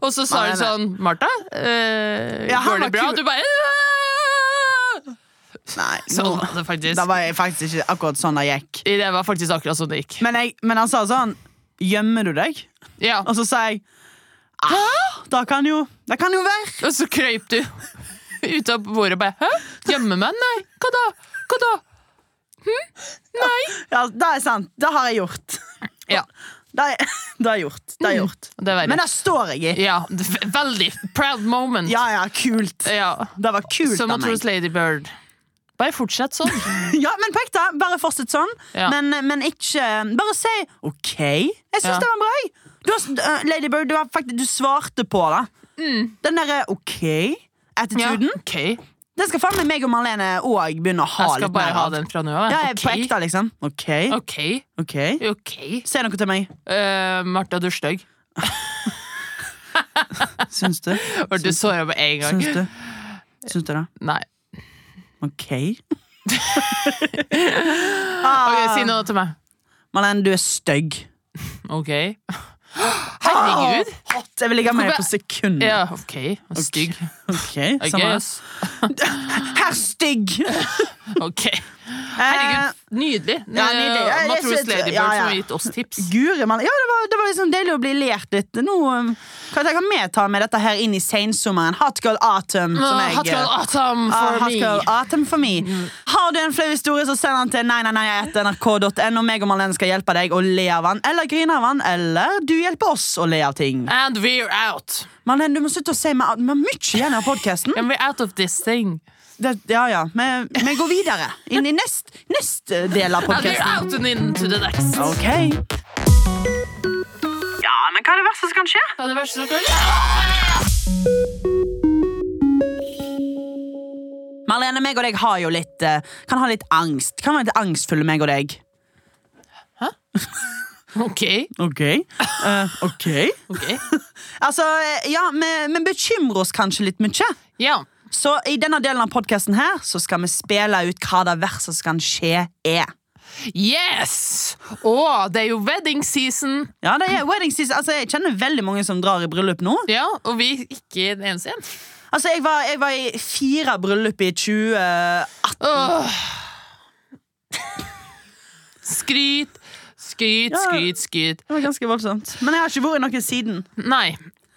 [SPEAKER 1] Og så sa
[SPEAKER 2] Nei,
[SPEAKER 1] hun
[SPEAKER 2] nei.
[SPEAKER 1] sånn 'Martha, eh,
[SPEAKER 2] Ja, han
[SPEAKER 1] går det
[SPEAKER 2] var
[SPEAKER 1] bra?'
[SPEAKER 2] kul.
[SPEAKER 1] Og du bare
[SPEAKER 2] Nei,
[SPEAKER 1] Sånn
[SPEAKER 2] nå-
[SPEAKER 1] var det faktisk.
[SPEAKER 2] Da var jeg faktisk ikke akkurat sånn det gikk.
[SPEAKER 1] Det var faktisk akkurat sånn det gikk.
[SPEAKER 2] Men, jeg, men han sa sånn Gjemmer du deg?
[SPEAKER 1] Ja.
[SPEAKER 2] Og så sa jeg ah, Det kan jo, det kan jo være.
[SPEAKER 1] Og så krøyp du ut av bordet og bare 'hæ? Gjemme meg? Nei, hva da? Hva da?' Hm?
[SPEAKER 2] Ja, det er sant. Det har jeg gjort.
[SPEAKER 1] Ja,
[SPEAKER 2] Det er, det er gjort. Det er gjort.
[SPEAKER 1] Mm. det var det.
[SPEAKER 2] Men det står jeg i.
[SPEAKER 1] Ja, det er veldig proud moment.
[SPEAKER 2] Ja, ja, kult.
[SPEAKER 1] Ja.
[SPEAKER 2] Det var kult
[SPEAKER 1] Eh, Som å
[SPEAKER 2] av meg.
[SPEAKER 1] tros Ladybird. Bare fortsett sånn.
[SPEAKER 2] Ja, men på ekte. Bare fortsett sånn.
[SPEAKER 1] Ja.
[SPEAKER 2] Men, men ikke eh, Bare si OK. Jeg syns
[SPEAKER 1] Ja.
[SPEAKER 2] det var bra. jeg. Du har, eh, Lady Bird, du, har faktisk, du svarte på det. Den eh, derre
[SPEAKER 1] Mm. Ja,
[SPEAKER 2] OK-attituden,
[SPEAKER 1] ok Jeg
[SPEAKER 2] den skal faen meg meg og Marlene òg begynne å ha
[SPEAKER 1] skal
[SPEAKER 2] litt
[SPEAKER 1] bare
[SPEAKER 2] mer
[SPEAKER 1] ha
[SPEAKER 2] av.
[SPEAKER 1] den fra nå av.
[SPEAKER 2] Ja,
[SPEAKER 1] jeg.
[SPEAKER 2] jeg, På ekte, liksom. OK.
[SPEAKER 1] Ok,
[SPEAKER 2] OK.
[SPEAKER 1] ok. ok.
[SPEAKER 2] Si noe til meg.
[SPEAKER 1] Eh, Martha, du er stygg.
[SPEAKER 2] Syns du?
[SPEAKER 1] Ble du såra med en gang?
[SPEAKER 2] Syns du? Syns du det?
[SPEAKER 1] Nei.
[SPEAKER 2] OK.
[SPEAKER 1] Ok,
[SPEAKER 2] ah,
[SPEAKER 1] Si noe til meg.
[SPEAKER 2] Marlene, du er stygg.
[SPEAKER 1] Ok.
[SPEAKER 2] Ah.
[SPEAKER 1] Herregud!
[SPEAKER 2] Hot. Jeg vil ligge med deg på
[SPEAKER 1] Hvorfor-
[SPEAKER 2] sekundet.
[SPEAKER 1] Ja, ok. Stygg.
[SPEAKER 2] Ok,
[SPEAKER 1] I
[SPEAKER 2] samme.
[SPEAKER 1] guess.
[SPEAKER 2] Herr stygg! Eh,
[SPEAKER 1] Ok. Herregud, Eh, Nydelig.
[SPEAKER 2] Ja, nydelig. Ja, jeg
[SPEAKER 1] Matros
[SPEAKER 2] synes-
[SPEAKER 1] Ladybird
[SPEAKER 2] ja, ja.
[SPEAKER 1] som har gitt oss tips.
[SPEAKER 2] Guri malla. Ja, det var, det var liksom deilig å bli lært litt. Nå um, kan, jeg, kan vi ta med dette her inn i sensommeren. Hot girl autumn. Som jeg,
[SPEAKER 1] Ah, Hot girl autumn
[SPEAKER 2] Ah,
[SPEAKER 1] for
[SPEAKER 2] hot
[SPEAKER 1] me. Mm.
[SPEAKER 2] girl autumn for me. Har du en flau historie, så send den til nei, nei, nei, etter nrk.no. Meg og Marlene skal hjelpe deg å le av den, eller grine av den, eller du hjelper oss å le av ting.
[SPEAKER 1] And we're out.
[SPEAKER 2] Marlene, du må slutte å si meg Vi har mye igjen av podkasten.
[SPEAKER 1] And we're out of this thing.
[SPEAKER 2] Ja, ja. Vi, vi går videre inn i nest, nest eh, del av
[SPEAKER 1] And we're
[SPEAKER 2] podkasten.
[SPEAKER 1] out and into the next.
[SPEAKER 2] Ok. Ja, men hva er det verste som kan skje?
[SPEAKER 1] Ja, det verste som kan
[SPEAKER 2] Marlene, meg og deg har jo litt eh, Kan ha litt angst. Kan være litt angstfulle, meg og deg.
[SPEAKER 1] Ok.
[SPEAKER 2] Ok. Eh, ok.
[SPEAKER 1] ok
[SPEAKER 2] Altså, eh, ja, vi, vi bekymrer oss kanskje litt mye.
[SPEAKER 1] Ja.
[SPEAKER 2] Så i denne delen av podkasten her Så skal vi spille ut hva det verste som kan skje, er.
[SPEAKER 1] Yes! Og det er jo wedding season.
[SPEAKER 2] Ja, det er wedding season. Altså, Jeg kjenner veldig mange som drar i bryllup nå.
[SPEAKER 1] Ja, og vi er ikke den eneste igjen.
[SPEAKER 2] Altså, Jeg var, jeg var i fire bryllup i 2018.
[SPEAKER 1] Åh. Skryt, skryt,
[SPEAKER 2] Ja.
[SPEAKER 1] skryt, skryt.
[SPEAKER 2] Det var ganske voldsomt. Men jeg har ikke vært i noe siden.
[SPEAKER 1] Nei.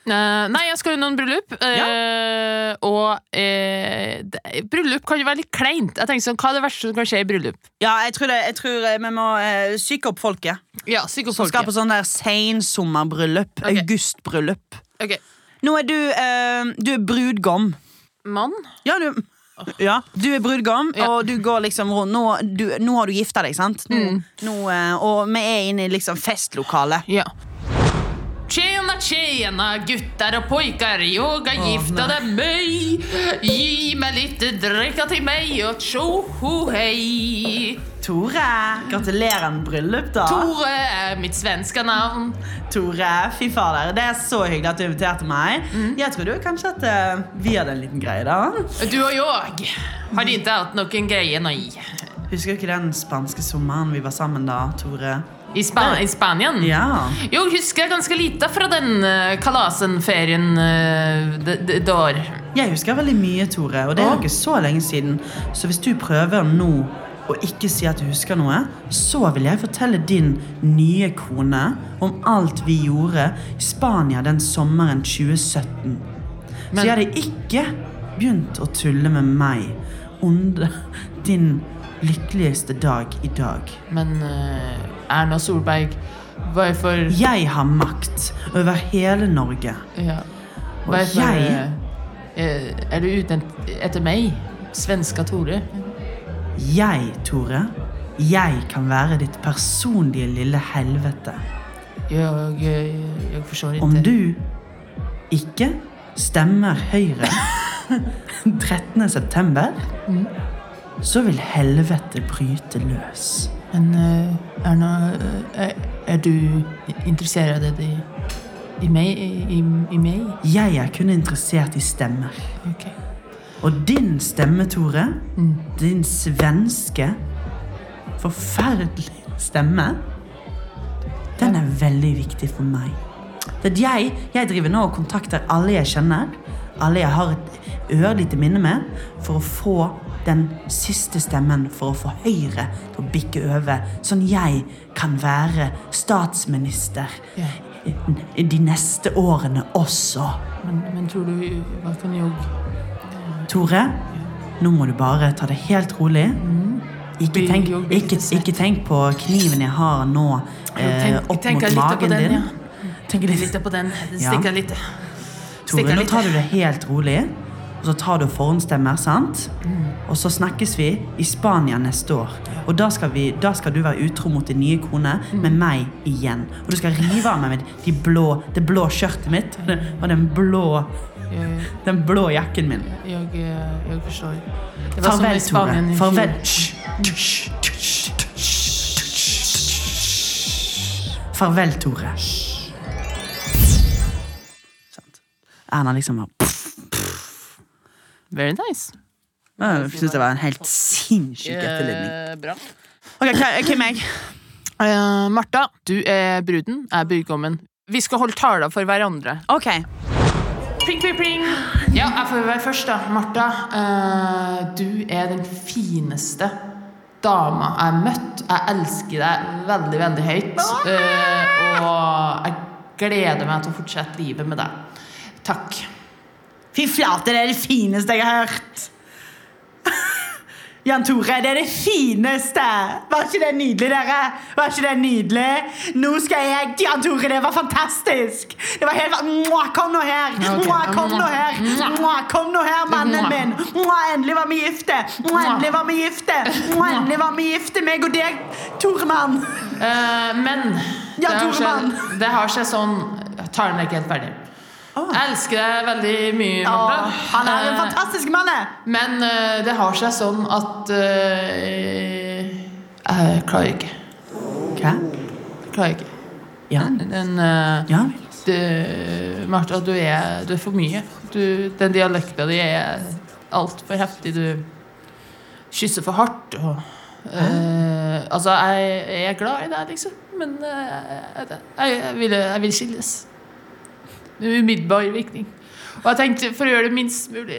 [SPEAKER 1] Eh, nei, jeg skal i noen bryllup. eh, Og eh, det, bryllup kan jo være litt kleint. Jeg tenker sånn, Hva er det verste som kan skje i bryllup?
[SPEAKER 2] Ja, jeg tror, det, jeg tror eh, vi må eh, psyke opp folket.
[SPEAKER 1] Ja,
[SPEAKER 2] Som skal
[SPEAKER 1] psykofolket.
[SPEAKER 2] på sånn der sensommerbryllup.
[SPEAKER 1] Ok.
[SPEAKER 2] Augustbryllup.
[SPEAKER 1] Ok,
[SPEAKER 2] Nå er du eh, Du er brudgom.
[SPEAKER 1] Mann?
[SPEAKER 2] Ja, du ja, Du er brudgom,
[SPEAKER 1] Ja.
[SPEAKER 2] og du går liksom rundt Nå, du, nå har du gifta deg, sant? Nå,
[SPEAKER 1] Mm.
[SPEAKER 2] nå, eh, og vi er inne i liksom festlokalet.
[SPEAKER 1] Ja. Tjena, tjena, gutter og pojkar, jeg har gifta deg meg. Gi meg litt drikka til meg, og tjo ho hei.
[SPEAKER 2] Tore, gratulerer med bryllup, da.
[SPEAKER 1] Tore er mitt svenska navn.
[SPEAKER 2] Tore, fy fader, Det er så hyggelig at du inviterte meg. Jeg tror du kanskje at eh, vi hadde en liten greie, da.
[SPEAKER 1] Du og jeg har ikke hatt noen greie, nei.
[SPEAKER 2] Husker du ikke den spanske sommeren vi var sammen da, Tore?
[SPEAKER 1] I, Spa i Spania?
[SPEAKER 2] Ja.
[SPEAKER 1] Jo, husker ganske lite fra den eh, kalasen-ferien eh, d- d- der.
[SPEAKER 2] Jeg husker veldig mye, Tore, og det er jo ikke så lenge siden. Så hvis du prøver nå å ikke si at du husker noe, så vil jeg fortelle din nye kone om alt vi gjorde i Spania den sommeren 2017.
[SPEAKER 1] Men-
[SPEAKER 2] Så jeg hadde ikke begynt å tulle med meg under din lykkeligste dag i dag.
[SPEAKER 1] Men eh, Erna Solberg, hvorfor
[SPEAKER 2] Jeg har makt over hele Norge.
[SPEAKER 1] Ja.
[SPEAKER 2] Og
[SPEAKER 1] Hvorfor
[SPEAKER 2] jeg-
[SPEAKER 1] eh, er du ute etter meg? Svenska Tore.
[SPEAKER 2] Jeg, Tore, jeg kan være ditt personlige lille helvete.
[SPEAKER 1] Jeg, jeg, jeg forstår ikke.
[SPEAKER 2] Om du ikke stemmer Høyre 13. september, så vil helvete bryte løs.
[SPEAKER 1] Men eh, Erna, eh, er, er du interessert i, i meg? I, i meg?
[SPEAKER 2] Jeg er kun interessert i stemmer.
[SPEAKER 1] Ok.
[SPEAKER 2] Og din stemme, Tore, din svenske, forferdelige stemme, den er veldig viktig for meg. Det at jeg, jeg driver nå og kontakter alle jeg kjenner, alle jeg har et ørlite minne med, for å få den siste stemmen for å få Høyre til å bikke over, sånn jeg kan være statsminister
[SPEAKER 1] Ja.
[SPEAKER 2] i- de neste årene også.
[SPEAKER 1] Men, men tror du Hva kan jeg
[SPEAKER 2] Tore, nå må du bare ta det helt rolig.
[SPEAKER 1] Mm.
[SPEAKER 2] Ikke
[SPEAKER 1] Blir
[SPEAKER 2] tenk,
[SPEAKER 1] jo litt
[SPEAKER 2] ikke,
[SPEAKER 1] svett.
[SPEAKER 2] ikke tenk på kniven jeg har nå eh,
[SPEAKER 1] Tenk-
[SPEAKER 2] opp
[SPEAKER 1] tenker
[SPEAKER 2] mot
[SPEAKER 1] litt på
[SPEAKER 2] magen
[SPEAKER 1] den,
[SPEAKER 2] din.
[SPEAKER 1] ja.
[SPEAKER 2] Tenk litt,
[SPEAKER 1] Litt på den. Den
[SPEAKER 2] Ja.
[SPEAKER 1] stikker litt.
[SPEAKER 2] Tore,
[SPEAKER 1] stikker
[SPEAKER 2] nå
[SPEAKER 1] litt.
[SPEAKER 2] tar du det helt rolig. Og så tar du forhåndsstemmer, sant?
[SPEAKER 1] Mm.
[SPEAKER 2] Og så snakkes vi i Spania neste år. Og da skal, vi, da skal du være utro mot din nye kone
[SPEAKER 1] Mm.
[SPEAKER 2] med meg igjen. Og du skal rive av meg med de blå, det blå skjørtet mitt og den, og den blå,
[SPEAKER 1] Jeg,
[SPEAKER 2] den blå jakken min.
[SPEAKER 1] jeg, eh, jeg forstår. Det var som i
[SPEAKER 2] Farvel,
[SPEAKER 1] Spanien i fjor.
[SPEAKER 2] Tore. Farvel. Hysj. Hysj. Hysj. Hysj. Farvel, Tore. Sant. Erna liksom var
[SPEAKER 1] Very nice.
[SPEAKER 2] Jeg syns det var en helt sinnssyk etterligning.
[SPEAKER 1] Eh, bra.
[SPEAKER 2] Ok, hva- Hvem er jeg?
[SPEAKER 1] Eh, Martha, du er bruden, jeg er brudgommen. Vi skal holde taler for hverandre.
[SPEAKER 2] Ok.
[SPEAKER 1] Pling, pling, pling. Ja, jeg får være først, da. Martha, eh, du er den fineste dama jeg har møtt. Jeg elsker deg veldig, veldig høyt. eh, og jeg gleder meg til å fortsette livet med deg. Takk.
[SPEAKER 2] Fy flate, det er det fineste jeg har hørt! Jan Tore, det er det fineste! Var ikke det nydelig, dere? Var ikke det nydelig? Nå skal jeg Jan Tore, det var fantastisk! Det var helt Mwah, Kom nå her!
[SPEAKER 1] Ok.
[SPEAKER 2] Mwah, kom nå her! Mwah, kom nå her, mannen min! Mwah, endelig var vi gifte! Mwah, endelig var vi gifte! Mwah, endelig var vi gifte, meg og deg, Toremann!
[SPEAKER 1] Eh, men det
[SPEAKER 2] Ja,
[SPEAKER 1] har,
[SPEAKER 2] Toremann.
[SPEAKER 1] seg, det har seg sånn Jeg tar den ikke helt ferdig.
[SPEAKER 2] Åh.
[SPEAKER 1] Jeg elsker deg veldig mye, Martha.
[SPEAKER 2] Åh, Han er
[SPEAKER 1] Eh,
[SPEAKER 2] en fantastisk mann! jeg.
[SPEAKER 1] Men eh, det har seg sånn at eh, Jeg klarer ikke.
[SPEAKER 2] Hva?
[SPEAKER 1] Jeg klarer ikke.
[SPEAKER 2] Ja.
[SPEAKER 1] Den, eh,
[SPEAKER 2] ja.
[SPEAKER 1] du, Martha, du er, du er for mye. Du, den dialekta di er altfor heftig. Du kysser for hardt. Og, eh, altså, jeg, jeg er glad i deg, liksom, men eh, jeg, jeg, vil, jeg vil skilles. Med umiddelbar virkning. Og jeg tenkte, for å gjøre det minst mulig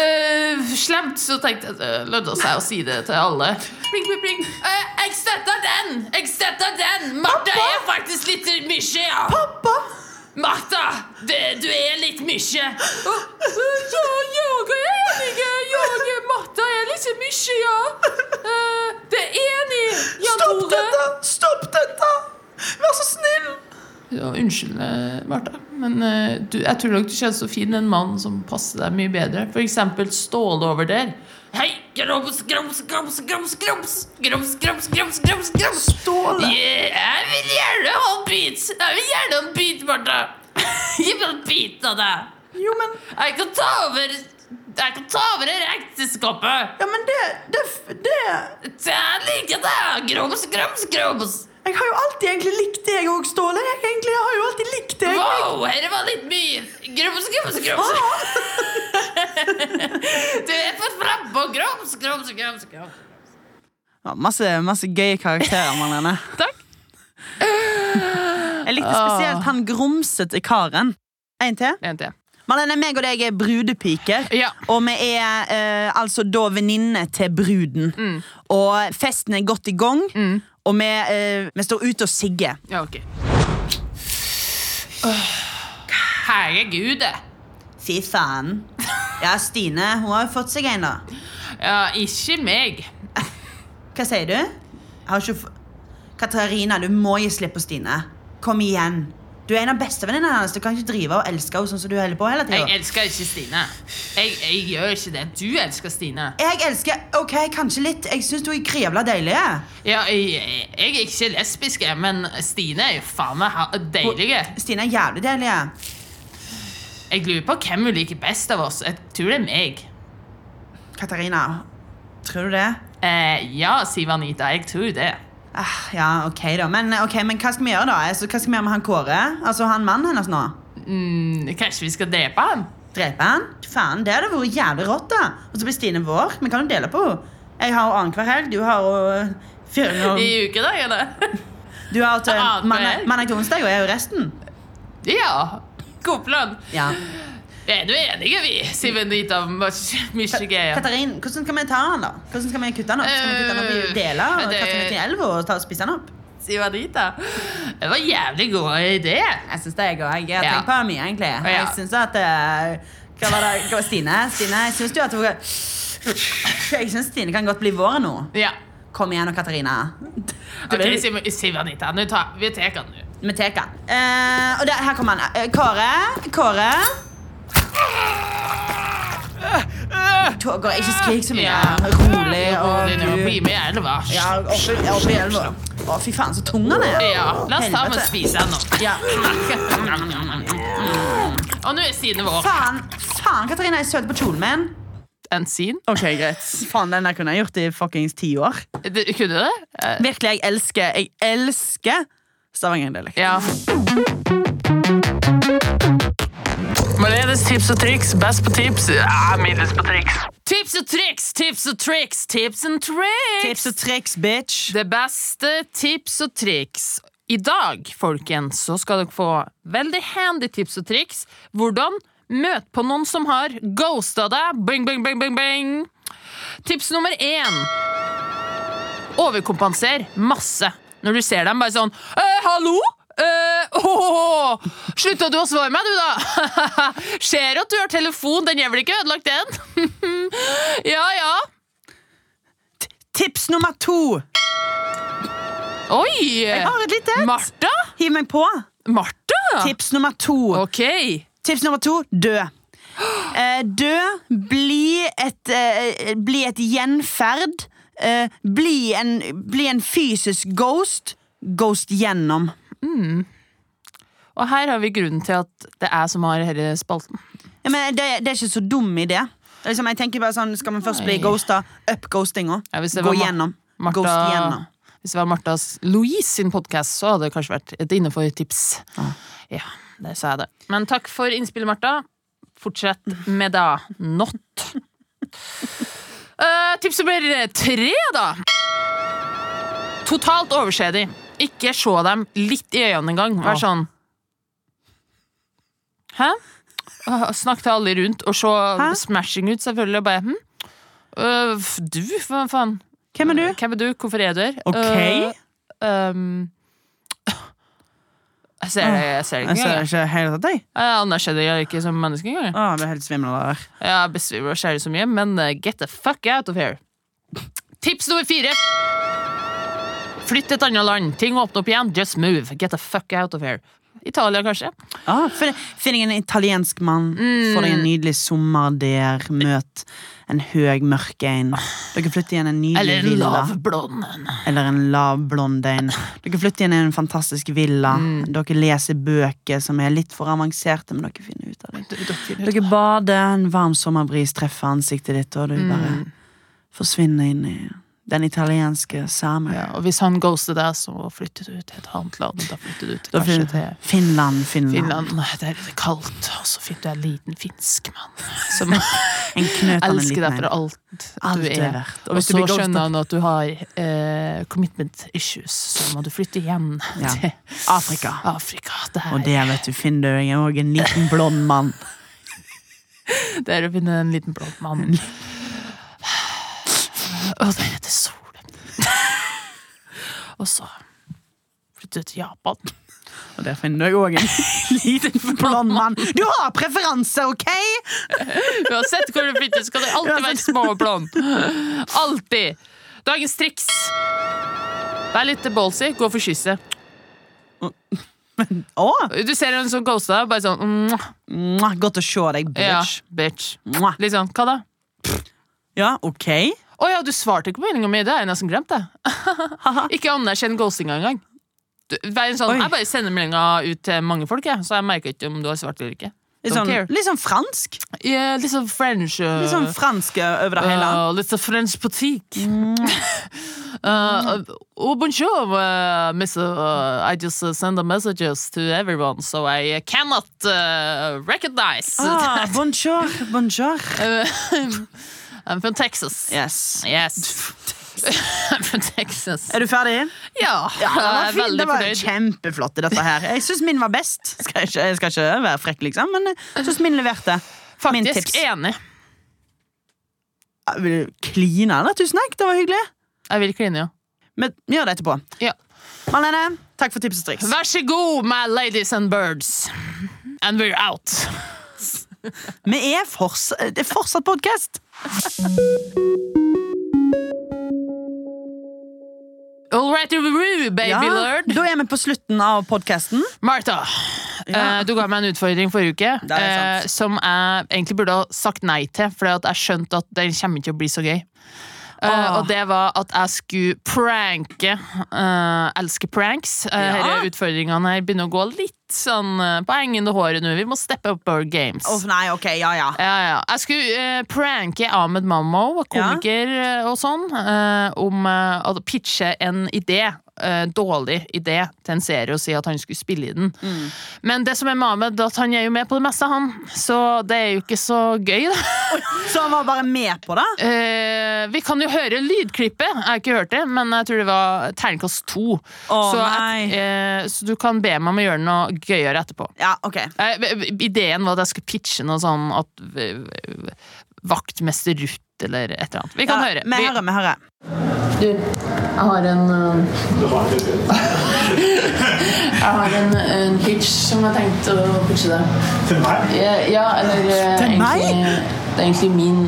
[SPEAKER 1] eh, slemt, så tenkte jeg at eh, det lønna seg å si det til alle. Pling, pling, pling. Eh, jeg støtter den! Jeg støtter den! Martha er faktisk litt mye. Ja.
[SPEAKER 2] Pappa!
[SPEAKER 1] Martha, du, du er litt mye. eh, Ja, jeg er enig. Jeg, Martha er litt mye, ja. Eh, Det er enig, Jan
[SPEAKER 2] Stopp
[SPEAKER 1] Tore.
[SPEAKER 2] dette! Stopp dette! Vær så snill!
[SPEAKER 1] Ja, unnskyld, eh, Martha, men eh, du, jeg tror nok du kjenner så fin en mann som passer deg mye bedre. For eksempel Ståle over der. Hei! Grums, grums, grums, grums, grums! Grums, grums, grums, grums, grums!
[SPEAKER 2] Ståle!
[SPEAKER 1] Yeah, jeg vil gjerne ha en bit! Jeg vil gjerne ha en bit, Martha! Gi meg en bit av deg!
[SPEAKER 2] Jo, men,
[SPEAKER 1] Jeg kan ta over Jeg kan ta over dette ekteskapet!
[SPEAKER 2] ja, men det, det, det
[SPEAKER 1] Jeg liker deg! Grums, grums, grums!
[SPEAKER 2] Jeg har jo alltid egentlig likt deg òg, Ståle. Jeg, egentlig, jeg har jo alltid likt deg.
[SPEAKER 1] Wow, dette var litt mye! Grums, grums, grums!
[SPEAKER 2] Ah,
[SPEAKER 1] Du er for frampå! Grums, grums, grums, grums.
[SPEAKER 2] Ja, masse, masse gøye karakterer, Marlene.
[SPEAKER 1] Takk.
[SPEAKER 2] Jeg likte spesielt han grumsete karen. En til.
[SPEAKER 1] En til.
[SPEAKER 2] Marlene, meg og deg er brudepiker.
[SPEAKER 1] Ja.
[SPEAKER 2] Og vi er eh, altså da venninne til bruden. Og festen er godt i gang. Og vi, eh, vi står ute og sigger.
[SPEAKER 1] Ja, ok. Herregud.
[SPEAKER 2] Fy faen. Ja, Stine, hun har jo fått seg en, da.
[SPEAKER 1] Ja, ikke meg.
[SPEAKER 2] Hva sier du? Jeg har ikke f- Katarina, du må gi slipp på Stine. Kom igjen. Du er en av bestevenninnene hennes. Du kan ikke drive og elske henne sånn som du holder på hele
[SPEAKER 1] Jeg
[SPEAKER 2] tida.
[SPEAKER 1] elsker ikke Stine. Jeg, jeg gjør ikke det. Du elsker Stine.
[SPEAKER 2] Jeg elsker Ok, kanskje litt. Jeg syns hun er krevla deilig.
[SPEAKER 1] Ja, jeg, jeg er ikke lesbisk, jeg, men Stine er jo faen meg ha- deilig.
[SPEAKER 2] Stine er jævlig deilig.
[SPEAKER 1] Jeg lurer på hvem hun liker best av oss. Jeg tror det er meg.
[SPEAKER 2] Katarina, tror du det?
[SPEAKER 1] Eh, ja, sier Anita. Jeg tror det.
[SPEAKER 2] Ah, ja, ok, da. Men, ok, men hva skal vi gjøre, da? Altså, hva skal vi gjøre med han Kåre? Altså han mannen hennes nå?
[SPEAKER 1] Mm, kanskje vi skal drepe ham?
[SPEAKER 2] Drepe han? Faen, det hadde vært jævlig rått, da. Og så blir Stine vår. Vi kan jo dele på henne. Jeg har henne annenhver helg. Du har eh, henne fire
[SPEAKER 1] I
[SPEAKER 2] ganger.
[SPEAKER 1] ukedagene?
[SPEAKER 2] Du har eh, henne
[SPEAKER 1] Annenhver
[SPEAKER 2] til mandag
[SPEAKER 1] helg?
[SPEAKER 2] mandag til onsdag, og jeg har jo resten.
[SPEAKER 1] Ja. God plan.
[SPEAKER 2] Ja.
[SPEAKER 1] Vi er nå enige, vi, sier Benita Michigan.
[SPEAKER 2] Katarin, hvordan skal vi ta han da? Hvordan skal vi kutte han opp? Skal vi kutte han opp i
[SPEAKER 1] Øh,
[SPEAKER 2] deler og
[SPEAKER 1] det-
[SPEAKER 2] kaste han ut i elva og ta og spise han opp?
[SPEAKER 1] Sier Anita. Det var en jævlig god idé.
[SPEAKER 2] Jeg syns det er godt. Jeg har
[SPEAKER 1] Ja.
[SPEAKER 2] tenkt på det mye, egentlig.
[SPEAKER 1] Ja.
[SPEAKER 2] Jeg synes at eh, Hva var det? Hva var Stine? Stine, jeg syns du at hun Jeg syns Stine kan godt bli vår nå.
[SPEAKER 1] Ja.
[SPEAKER 2] Kom igjen nå, Katarina. Du
[SPEAKER 1] Ok,
[SPEAKER 2] vet-
[SPEAKER 1] sier sier Anita. Nå tar, vi tar den nå.
[SPEAKER 2] Vi tar den. Eh, og der, her kommer han. Eh, Kåre. Kåre.
[SPEAKER 1] Øh,
[SPEAKER 2] Toger, ikke skrik så mye. Rolig og
[SPEAKER 1] rolig nå. Bli
[SPEAKER 2] gud.
[SPEAKER 1] med i elva.
[SPEAKER 2] Ja, oppi, oppi elva. Å, fy faen, så tung han er.
[SPEAKER 1] Ja, la oss ta med og
[SPEAKER 2] Helvete.
[SPEAKER 1] spise den nå.
[SPEAKER 2] Ja.
[SPEAKER 1] Og nå er siden vår.
[SPEAKER 2] Faen, faen, Katarina, jeg sølte på kjolen min.
[SPEAKER 1] En sin?
[SPEAKER 2] Ok, greit. Faen, den der kunne jeg gjort i fuckings ti år.
[SPEAKER 1] Du- Kunne du det? Eh,
[SPEAKER 2] Virkelig, jeg elsker, jeg elsker Stavanger-dialekt.
[SPEAKER 1] Ja. Maledes tips og triks, best på tips. Ja, middels på triks. Tips og triks, tips og triks, tips and tricks.
[SPEAKER 2] Tips og triks, bitch.
[SPEAKER 1] Det beste tips og triks. I dag, folkens, så skal dere få veldig handy tips og triks. Hvordan møte på noen som har ghosta deg. Bing, bing, bing, bing, bing. Tips nummer én. Overkompenser masse når du ser dem. Bare sånn «Eh, Hallo! Eh, åh, åh, åh. Slutta du å svare meg, du, da? Ser at du har telefon. Den er vel ikke ødelagt, den? ja, ja.
[SPEAKER 2] Tips nummer to.
[SPEAKER 1] Oi!
[SPEAKER 2] Jeg har et lite et.
[SPEAKER 1] Martha?
[SPEAKER 2] Hiv meg på.
[SPEAKER 1] Martha?
[SPEAKER 2] Tips nummer to.
[SPEAKER 1] OK.
[SPEAKER 2] Tips nummer to dø. Eh, dø. Bli et, eh, bli et gjenferd. Eh, bli, en, bli en fysisk ghost. Ghost gjennom.
[SPEAKER 1] Og her har vi grunnen til at det er som har denne spalten.
[SPEAKER 2] Ja, men det, det er ikke så dum idé. Det er Liksom, jeg tenker bare sånn, Skal man først bli
[SPEAKER 1] Nei.
[SPEAKER 2] ghosta, up ghostinga.
[SPEAKER 1] Ja, hvis det
[SPEAKER 2] Gå
[SPEAKER 1] var Mar-
[SPEAKER 2] gjennom.
[SPEAKER 1] Martha,
[SPEAKER 2] Ghost gjennom.
[SPEAKER 1] Hvis det var Marthas Louise sin podkast, så hadde det kanskje vært et innenfor tips. Ja, der sa jeg det. Men takk for innspillet, Martha. Fortsett med det. Not. Eh, tips nummer tre, da. Totalt overse de. Ikke se dem litt i øynene engang. Vær
[SPEAKER 2] Ja.
[SPEAKER 1] sånn Hæ? Ah, Snakk til alle rundt, og se
[SPEAKER 2] Hæ?
[SPEAKER 1] smashing ut, selvfølgelig. Og bare hm? Øh, f- du, hva faen?
[SPEAKER 2] Hvem er du?
[SPEAKER 1] Hvem er du? Hvorfor er du her?
[SPEAKER 2] Ok.
[SPEAKER 1] Øh, øhm, jeg ser det, jeg ser det
[SPEAKER 2] Jeg
[SPEAKER 1] ikke
[SPEAKER 2] ser
[SPEAKER 1] engang.
[SPEAKER 2] ikke hele tatt, jeg.
[SPEAKER 1] Jeg anerkjenner jeg ikke som menneske engang.
[SPEAKER 2] Å, jeg blir helt svimmel av Ah, det der.
[SPEAKER 1] Jeg besvimer og ser det så mye, men eh, get the fuck out of here. Tips nummer fire. Flytt til et annet land. Ting åpner opp igjen. Just move. Get the fuck out of here. Italia, kanskje?
[SPEAKER 2] Ah, fin- Finn deg en italiensk mann, få
[SPEAKER 1] Mm.
[SPEAKER 2] deg en nydelig sommer der, møt en høg, mørk en. Dere flytter igjen en nydelig
[SPEAKER 1] Eller en
[SPEAKER 2] villa.
[SPEAKER 1] lav blond en.
[SPEAKER 2] Eller en lav blond en. Dere flytter igjen i en fantastisk villa.
[SPEAKER 1] Mm.
[SPEAKER 2] Dere leser bøker som er litt for avanserte, men dere finner ut av det. Dere bader, en varm sommerbris treffer ansiktet ditt, og du bare
[SPEAKER 1] Mm.
[SPEAKER 2] forsvinner inn i den italienske samer.
[SPEAKER 1] Ja, og hvis han ghoster deg, så flytter du til et annet land. Da flytter du til,
[SPEAKER 2] Da
[SPEAKER 1] kanskje
[SPEAKER 2] fin-
[SPEAKER 1] til
[SPEAKER 2] Finland,
[SPEAKER 1] Finland.
[SPEAKER 2] Finland.
[SPEAKER 1] Der er det kaldt, og så finner du en liten finsk mann som
[SPEAKER 2] En knøt av en
[SPEAKER 1] elsker
[SPEAKER 2] liten
[SPEAKER 1] deg
[SPEAKER 2] en.
[SPEAKER 1] for alt
[SPEAKER 2] Alt
[SPEAKER 1] du
[SPEAKER 2] du er
[SPEAKER 1] er.
[SPEAKER 2] verdt. Og
[SPEAKER 1] Og
[SPEAKER 2] hvis du
[SPEAKER 1] så
[SPEAKER 2] blir ghostet-
[SPEAKER 1] skjønner han at du har eh, commitment issues, så må du flytte igjen
[SPEAKER 2] Ja.
[SPEAKER 1] til
[SPEAKER 2] Afrika.
[SPEAKER 1] Afrika.
[SPEAKER 2] Og
[SPEAKER 1] Der,
[SPEAKER 2] der, vet du, finner du òg en liten blond mann.
[SPEAKER 1] der å finne en liten blond
[SPEAKER 2] Mm.
[SPEAKER 1] mann. Og der heter solen. Og så flytter du til Japan.
[SPEAKER 2] Og der finner du òg en liten blond mann. Du har preferanser, OK?
[SPEAKER 1] Uansett hvor du flytter, skal det alltid være små plan. Alltid. Dagens triks. Vær litt ballsy. Gå for kysset.
[SPEAKER 2] Å,
[SPEAKER 1] Du ser en som ghoster deg, bare sånn mwah,
[SPEAKER 2] mwah, godt å se deg,
[SPEAKER 1] ja,
[SPEAKER 2] bitch.
[SPEAKER 1] bitch.
[SPEAKER 2] Mwah.
[SPEAKER 1] Litt sånn, hva da?
[SPEAKER 2] Ja, OK.
[SPEAKER 1] Å ja, du svarte ikke på meldinga mi. Det har jeg nesten glemt. det Ikke anerkjenn ghostinga engang. Du, vær en sånn,
[SPEAKER 2] Oi.
[SPEAKER 1] jeg bare sender meldinga ut til mange folk, jeg, så jeg merker ikke om du har svart eller ikke.
[SPEAKER 2] Litt
[SPEAKER 1] Don't
[SPEAKER 2] sånn,
[SPEAKER 1] care.
[SPEAKER 2] litt sånn fransk.
[SPEAKER 1] Yeah, litt sånn French. Uh,
[SPEAKER 2] Litt sånn fransk eh, over det hele.
[SPEAKER 1] Uh, litt sånn French boutique.
[SPEAKER 2] Mm.
[SPEAKER 1] Uh, oh, bonjour, uh, miss, uh, I just uh, send the messages to everyone, so I cannot uh, recognize.
[SPEAKER 2] Ah, bonjour, bonjour.
[SPEAKER 1] Uh, I'm from Texas.
[SPEAKER 2] Yes.
[SPEAKER 1] Yes. I'm from Texas.
[SPEAKER 2] Er du ferdig?
[SPEAKER 1] Ja,
[SPEAKER 2] det
[SPEAKER 1] jeg
[SPEAKER 2] var,
[SPEAKER 1] er
[SPEAKER 2] fint.
[SPEAKER 1] veldig
[SPEAKER 2] Det var
[SPEAKER 1] fornøyd.
[SPEAKER 2] kjempeflott. i dette her Jeg syns min var best. Skal jeg, ikke, jeg skal ikke være frekk, liksom, men jeg syns min leverte. min
[SPEAKER 1] Faktisk
[SPEAKER 2] tips.
[SPEAKER 1] enig.
[SPEAKER 2] Ja, Vil du kline, eller? Tusen takk, det var hyggelig.
[SPEAKER 1] Jeg vil kline, ja.
[SPEAKER 2] Men gjør det etterpå.
[SPEAKER 1] ja.
[SPEAKER 2] Marlene, takk for tips og triks.
[SPEAKER 1] Vær så god, my ladies and birds. And we're out.
[SPEAKER 2] Vi er, forts det er fortsatt podkast.
[SPEAKER 1] All right, roo, baby lord.
[SPEAKER 2] Da er vi på slutten av podkasten.
[SPEAKER 1] Martha,
[SPEAKER 2] Ja.
[SPEAKER 1] eh, du ga meg en utfordring forrige uke
[SPEAKER 2] Det er sant.
[SPEAKER 1] eh, som jeg egentlig burde ha sagt nei til, for jeg skjønte at den kommer ikke til å bli så gøy. Eh,
[SPEAKER 2] Åh.
[SPEAKER 1] og det var at jeg skulle pranke. eh, elsker pranks. Uh,
[SPEAKER 2] Ja.
[SPEAKER 1] Disse utfordringene her begynner å gå litt sånn eh, på hengende håret nå. Vi må steppe up our games.
[SPEAKER 2] Å nei, ok, ja, ja.
[SPEAKER 1] Ja, ja. Jeg skulle eh, pranke Ahmed Mammo, komiker eh, og sånn, eh, om eh, å pitche en idé. eh, dårlig idé til en serie og si at han skulle spille i den.
[SPEAKER 2] Mm.
[SPEAKER 1] Men det som er med Ahmed, at han er jo med på det meste, han. Så det er jo ikke så gøy, da.
[SPEAKER 2] Så han var bare med på det?
[SPEAKER 1] Eh, vi kan jo høre lydklippet. Jeg har ikke hørt det, men jeg tror det var terningkast to.
[SPEAKER 2] Å,
[SPEAKER 1] så,
[SPEAKER 2] nei.
[SPEAKER 1] eh, så du kan be meg om å gjøre noe gøyere etterpå.
[SPEAKER 2] Ja, ok.
[SPEAKER 1] eh, Nei, v- v- Ideen var at jeg skulle pitche noe sånn at v- v- eh, vaktmester Ruth ut eller et eller annet. Vi kan
[SPEAKER 2] Ja,
[SPEAKER 1] høre.
[SPEAKER 2] Vi
[SPEAKER 1] Vi-
[SPEAKER 2] hører, vi hører.
[SPEAKER 1] Du, jeg har en øh, Jeg har en, en pitch som jeg tenkte å pitche deg.
[SPEAKER 3] Til meg?
[SPEAKER 1] Ja, ja eller øh,
[SPEAKER 2] Til meg?
[SPEAKER 1] egentlig, Det er egentlig min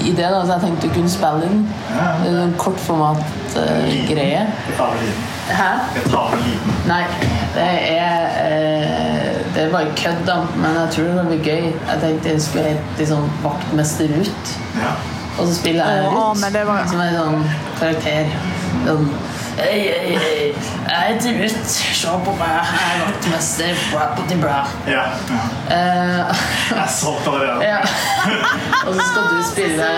[SPEAKER 1] idé, da, så jeg tenkte å kunne spille den. Det er en eh, kortformat-greie.
[SPEAKER 3] Jeg tar meg liten.
[SPEAKER 1] Hæ?
[SPEAKER 3] Jeg tar meg liten.
[SPEAKER 1] Nei, det er eh, Det var kødd, da, men jeg tror det blir gøy. Jeg tenkte jeg skulle hete liksom, Vaktmester Ruth,
[SPEAKER 3] Ja.
[SPEAKER 1] og så spiller jeg
[SPEAKER 2] Å,
[SPEAKER 1] Ruth,
[SPEAKER 2] men det var-
[SPEAKER 1] som er en sånn karakter. Sånn Hei, hei, hei. Jeg heter Ruth. Se på meg, jeg er vaktmester. Bra, bra, bra.
[SPEAKER 3] Ja. ja.
[SPEAKER 1] Eh,
[SPEAKER 3] Jeg er solgt allerede.
[SPEAKER 1] ja. Og så skal du spille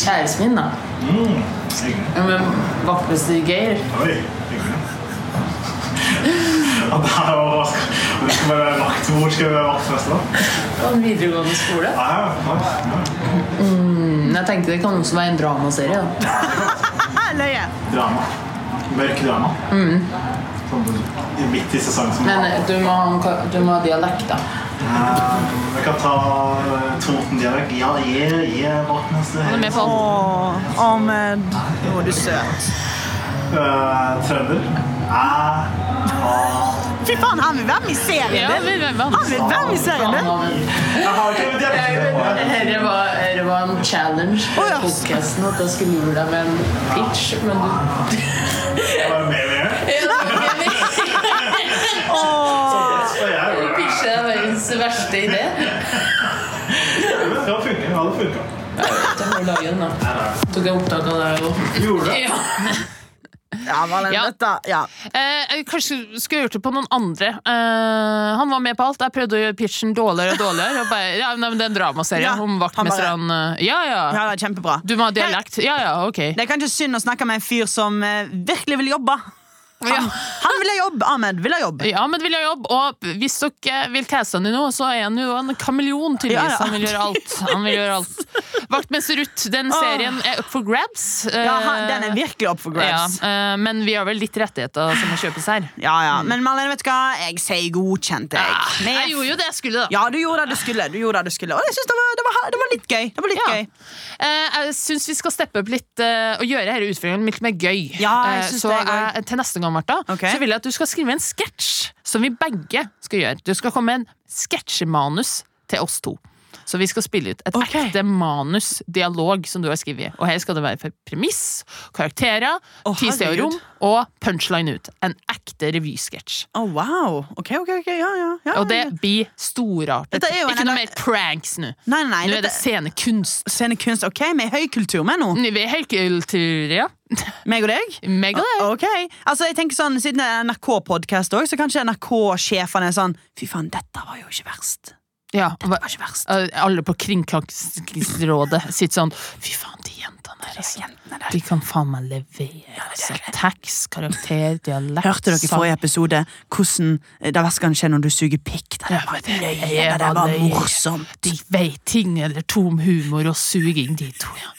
[SPEAKER 1] kjæresten min, da.
[SPEAKER 3] Mm. Hyggelig.
[SPEAKER 1] Med vaktmester Geir.
[SPEAKER 3] Oi, hyggelig. Ja, det her var hva skal- Hvor skal vi være vakt? Hvor skal vi være vaktmester? da?
[SPEAKER 1] På en videregående skole.
[SPEAKER 3] Ja, ja, ja.
[SPEAKER 1] Men jeg tenkte det kan også være en dramaserie. da.
[SPEAKER 2] Ah, løye.
[SPEAKER 3] Drama. Mørk drama.
[SPEAKER 1] Mm.
[SPEAKER 3] Sånn i- midt i sesongen som
[SPEAKER 1] Men eh, du må, ha en ka- du må ha dialekt, da.
[SPEAKER 3] Eh, Vi kan ta eh, Toten-dialekt. Ja, jeg, jeg er vaktmester.
[SPEAKER 1] Han er med på
[SPEAKER 2] Å,
[SPEAKER 1] alt.
[SPEAKER 2] om Å, du er søt.
[SPEAKER 3] Eh, Trønder. Jeg har
[SPEAKER 2] Fy faen, han vil være med i serien!
[SPEAKER 1] Ja,
[SPEAKER 2] din.
[SPEAKER 1] vi- vi- vi-
[SPEAKER 2] Han vil være med i serien din!
[SPEAKER 3] Jeg har ikke dialekt.
[SPEAKER 1] Dette var, dette var en challenge for
[SPEAKER 2] Å, ja.
[SPEAKER 1] podcasten at jeg skulle lure deg med en pitch, men du
[SPEAKER 3] Jeg var med med.
[SPEAKER 2] Åh,
[SPEAKER 3] Så jeg
[SPEAKER 1] Du
[SPEAKER 3] gjorde det.
[SPEAKER 1] pitcher deg verdens verste idé.
[SPEAKER 3] Det funker. Det hadde funket.
[SPEAKER 1] Det var dagen, da. Tok jeg opptak av deg og
[SPEAKER 3] Gjorde det.
[SPEAKER 1] ja.
[SPEAKER 2] Ja, Valen,
[SPEAKER 1] Ja.
[SPEAKER 2] dette ja.
[SPEAKER 1] eh, jeg Kanskje skulle jeg gjort det på noen andre. Eh, han var med på alt. Jeg prøvde å gjøre pitchen dårligere og dårligere. Og bare, ja, nei, men det er en dramaserie
[SPEAKER 2] Ja,
[SPEAKER 1] om
[SPEAKER 2] han bare-
[SPEAKER 1] vaktmesterne Ja,
[SPEAKER 2] ja,
[SPEAKER 1] ja.
[SPEAKER 2] det er kjempebra.
[SPEAKER 1] Du må ha dialekt. Ja, ja, ok.
[SPEAKER 2] Det er kanskje synd å snakke med en fyr som eh, virkelig vil jobbe.
[SPEAKER 1] Ja.
[SPEAKER 2] Han, han vil ha jobb! Ahmed vil ha jobb.
[SPEAKER 1] Ja, men vil ha jobb, og hvis dere vil teste han i noe, så er han jo en kameleon,
[SPEAKER 2] Ja,
[SPEAKER 1] tydeligvis.
[SPEAKER 2] ja.
[SPEAKER 1] Han vil gjøre alt. Han vil gjøre alt. Vaktmester Ruth, den
[SPEAKER 2] Åh.
[SPEAKER 1] serien er up for grabs. Eh,
[SPEAKER 2] Ja, han, den er virkelig opp for grabs.
[SPEAKER 1] Ja, eh, men vi har vel litt rettigheter som må kjøpes her.
[SPEAKER 2] Ja, ja. Men Marlene, vet du hva? Jeg sier godkjent, jeg. Men
[SPEAKER 1] Ah, Jeg gjorde jo det jeg skulle, da.
[SPEAKER 2] Ja, du gjorde det du skulle. Du gjorde det du skulle. Og jeg synes det, var, det, var, det var litt gøy. Det var litt
[SPEAKER 1] Ja.
[SPEAKER 2] gøy.
[SPEAKER 1] Eh, jeg syns vi skal steppe opp litt eh, og gjøre denne utfordringen litt mer gøy.
[SPEAKER 2] Ja, jeg
[SPEAKER 1] Eh,
[SPEAKER 2] synes
[SPEAKER 1] så
[SPEAKER 2] det er gøy.
[SPEAKER 1] jeg- til neste gang, Martha,
[SPEAKER 2] Ok.
[SPEAKER 1] så vil jeg at du skal skrive en sketsj som vi begge skal gjøre. Du skal komme med en sketsjemanus til oss to. Så vi skal spille ut et
[SPEAKER 2] Ok.
[SPEAKER 1] ekte manus, dialog, som du har skrevet. Og her skal det være for premiss, karakterer,
[SPEAKER 2] Å,
[SPEAKER 1] ti steder
[SPEAKER 2] herregud.
[SPEAKER 1] rom og punchline ut. En ekte revysketsj.
[SPEAKER 2] Å, Oh, wow. Ok, ok, ok. Ja, ja. ja
[SPEAKER 1] Og det blir storartet.
[SPEAKER 2] Dette er jo en-
[SPEAKER 1] Ikke noe mer pranks nå.
[SPEAKER 2] Nei, nei,
[SPEAKER 1] Nå
[SPEAKER 2] nei.
[SPEAKER 1] er det
[SPEAKER 2] Dette,
[SPEAKER 1] scenekunst.
[SPEAKER 2] scenekunst. Ok, vi er høykultur med nå.
[SPEAKER 1] Vi er helt kultur, ja.
[SPEAKER 2] Meg og deg.
[SPEAKER 1] Mega det.
[SPEAKER 2] Ok, altså jeg tenker sånn Siden det er NRK-podcast også Så kanskje NRK-sjefene er sånn Fy faen, dette var jo ikke verst Det
[SPEAKER 1] Ja, hva-
[SPEAKER 2] var ikke verst
[SPEAKER 1] eh, alle på Kringkastingsrådet sitter sånn Fy faen, de jentene der, altså.
[SPEAKER 2] Jentene der
[SPEAKER 1] De kan faen meg levere. Altså, tekst, karakter, dialekt
[SPEAKER 2] Hørte dere i
[SPEAKER 1] sang.
[SPEAKER 2] forrige episode Hvordan eh, det verste kan skje når du suger pikk Det der var
[SPEAKER 1] det
[SPEAKER 2] løye,
[SPEAKER 1] er
[SPEAKER 2] det der var
[SPEAKER 1] løye.
[SPEAKER 2] morsomt
[SPEAKER 1] De veit ting eller tom humor og suging, de to, ja.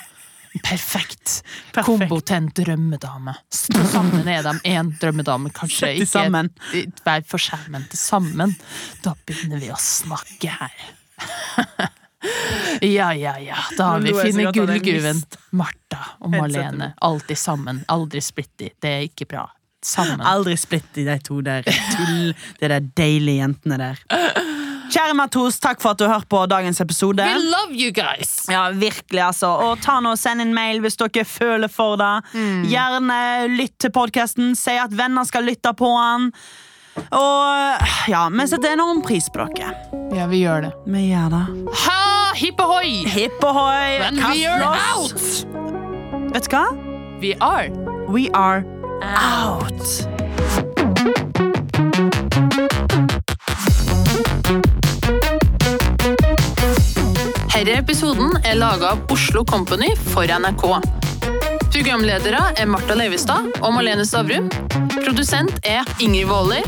[SPEAKER 1] Perfekt.
[SPEAKER 2] Perfekt.
[SPEAKER 1] Kombo til en drømmedame. Sammen er de én drømmedame, kanskje.
[SPEAKER 2] Sett de sammen.
[SPEAKER 1] de- Hver for seg, men til sammen. Da begynner vi å snakke her. Ja, ja, ja. Da har
[SPEAKER 2] Nå
[SPEAKER 1] vi
[SPEAKER 2] lo jeg så
[SPEAKER 1] funnet
[SPEAKER 2] godt av den
[SPEAKER 1] gullgruven.
[SPEAKER 2] lista.
[SPEAKER 1] Martha og
[SPEAKER 2] Helt sant.
[SPEAKER 1] Marlene. Alltid sammen. Aldri splittig. Det er ikke bra. Sammen.
[SPEAKER 2] Aldri splitt i de to der Tull, det der deilige jentene der Kjære Matos, takk for at du har hørt på dagens episode
[SPEAKER 1] We love you guys!
[SPEAKER 2] Ja, virkelig, altså. Og ta nå og Send en mail hvis dere føler for det.
[SPEAKER 1] Mm.
[SPEAKER 2] Gjerne lytt til podkasten. Si at venner skal lytte på den. Og ja, vi setter enorm pris på dere.
[SPEAKER 1] Ja, vi gjør det.
[SPEAKER 2] Vi gjør det.
[SPEAKER 1] Ha! Hipp ohoi!
[SPEAKER 2] Hipp ohoi!
[SPEAKER 1] And
[SPEAKER 2] kast
[SPEAKER 1] we are
[SPEAKER 2] loss. Vet du hva?
[SPEAKER 1] We are
[SPEAKER 2] We are out.
[SPEAKER 1] Herre episoden er laget av Oslo Company for NRK. Programledere er Martha Leivestad og Malene Stavrum. Produsent er Inger Våler.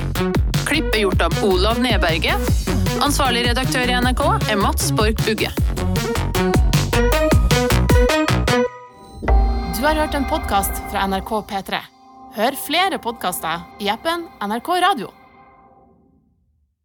[SPEAKER 1] Klipp er gjort av Olav Neberge. Ansvarlig redaktør i NRK er Mats Borg Bugge.
[SPEAKER 4] Du har hørt en podkast fra NRK P3. Hør flere podkaster i appen NRK Radio.